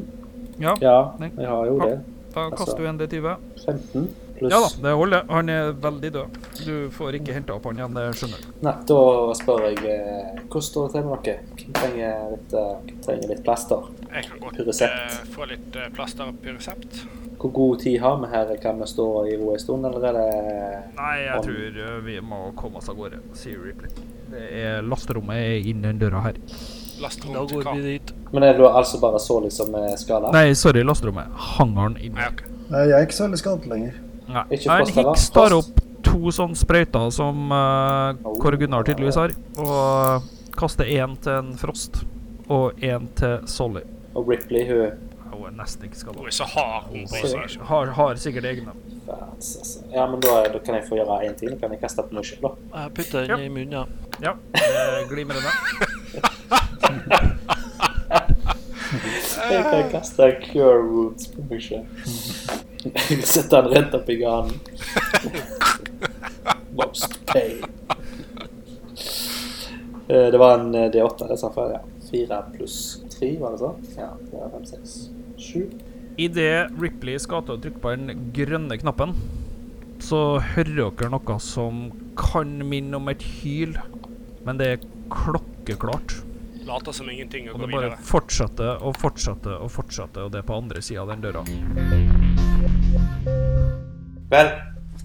Speaker 1: Ja.
Speaker 4: Ja,
Speaker 1: Nei.
Speaker 4: jeg har jo det.
Speaker 1: Da kaster du en D20.
Speaker 4: 15 pluss
Speaker 1: Ja da, det holder. Han er veldig død. Du får ikke henta opp han igjen, det skjønner du.
Speaker 4: Nei, da spør jeg eh, hvordan står det til med dere? Hvem trenger litt, eh, hvem trenger litt plaster?
Speaker 2: Jeg kan godt
Speaker 4: Pyrosept.
Speaker 2: eh, få litt eh, plaster og pyrosept.
Speaker 4: Hvor god tid har vi her? Kan vi stå i ro en stund, eller er det
Speaker 1: Nei, jeg tror eh, vi må komme oss av gårde, sier Ripley. Det er lasterommet er innen døra her.
Speaker 3: Da
Speaker 2: Lasterom til
Speaker 3: går
Speaker 2: hva?
Speaker 3: vi dit.
Speaker 4: Men er det da altså bare så liksom eh, skada?
Speaker 1: Nei, sorry, lasterommet. Hangaren inne.
Speaker 2: Nei, ok.
Speaker 5: Nei, jeg er ikke så veldig skadet lenger.
Speaker 1: Nei.
Speaker 4: Ikke
Speaker 1: Nei,
Speaker 4: fast, eller?
Speaker 1: Hicks tar
Speaker 4: Fast?
Speaker 1: opp to sånne sprøyter som uh, Kåre Gunnar tydeligvis har, og kaster én til en Frost og én til Solly.
Speaker 4: Og Ripley, hun
Speaker 1: Hun er nesten ikke skada.
Speaker 2: Oi, så har hun på
Speaker 4: Sorry.
Speaker 2: seg.
Speaker 1: Har, har sikkert egne.
Speaker 4: Fats, altså. Ja, men da, da kan jeg få gjøre én til. Da kan jeg kaste på meg sjøl, da.
Speaker 3: Jeg putter
Speaker 1: Ja.
Speaker 3: den i munnen, ja.
Speaker 1: Ja, eh, glimrende.
Speaker 4: Jeg kan kaste cure wounds på meg sjøl. Sette han rett opp i ganen. Most pain. Eh, Det var en eh, D8, det sa jeg. Ja. Fire pluss tre, var det sånn? Ja. Det var fem, seks, sju.
Speaker 1: Idet Ripley skal til å trykke på den grønne knappen, så hører dere noe som kan minne om et hyl, men det er klokkeklart.
Speaker 2: Later som ingenting og
Speaker 1: Og
Speaker 2: går
Speaker 1: det bare
Speaker 2: videre.
Speaker 1: fortsetter og fortsetter og fortsetter, og det er på andre sida av den døra.
Speaker 4: Vel,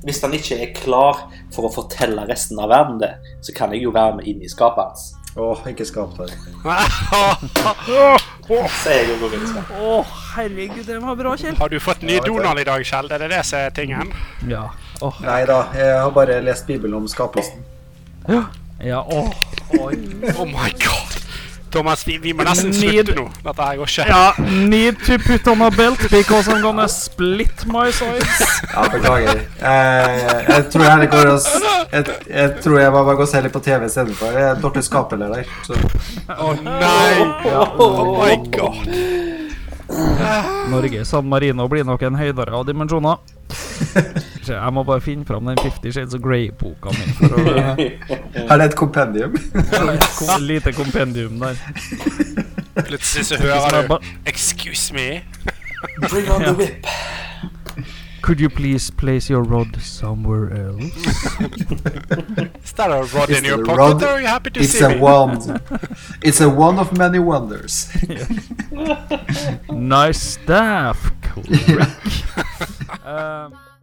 Speaker 4: hvis han ikke er klar for å fortelle resten av verden det, så kan jeg jo være med inn i skapet hans.
Speaker 5: Åh, ikke skapt her.
Speaker 4: Så jeg jo går inn i skapet.
Speaker 1: Å, herregud, det var bra, Kjell.
Speaker 2: Har du fått ny
Speaker 5: Ja, vet du.
Speaker 2: Donald i dag, Kjell? Er det det som er tingen?
Speaker 1: Ja. Åh,
Speaker 5: Nei da, jeg har bare lest Bibelen om skapelsen.
Speaker 1: ja, åh. Oi.
Speaker 2: Oh my god! Thomas, vi, vi må nesten
Speaker 1: Nyd-
Speaker 2: slutte nå. Dette her går ikke.
Speaker 1: Ja, need to put on a belt because I'm gonna split my sides.
Speaker 5: Ja, beklager. Eh, jeg tror jeg går og s- jeg, jeg tror jeg bare går og ser litt på TV istedenfor. Jeg er dårlig skapeleder. Så
Speaker 2: Å nei!
Speaker 5: ja.
Speaker 2: Oh my god!
Speaker 1: Norge, San Marino blir nok en høydere av dimensjoner. Så Jeg må bare finne fram den Fifty Shades of Grey-boka mi for å
Speaker 5: Er det et kompendium?
Speaker 1: få et lite kompendium der.
Speaker 2: Plutselig så
Speaker 1: Som
Speaker 2: hører
Speaker 1: jeg
Speaker 2: du
Speaker 1: ba-
Speaker 2: Excuse me?
Speaker 4: Bring on the whip.
Speaker 1: Could you please place your rod somewhere else?
Speaker 2: Is that a rod
Speaker 5: Is
Speaker 2: in
Speaker 5: it
Speaker 2: your
Speaker 5: a
Speaker 2: pocket?
Speaker 5: rod?
Speaker 2: Or are you happy to
Speaker 5: It's
Speaker 2: see
Speaker 5: a
Speaker 2: me?
Speaker 5: one. It's a one of many wonders.
Speaker 1: Nice staff, Correct. um,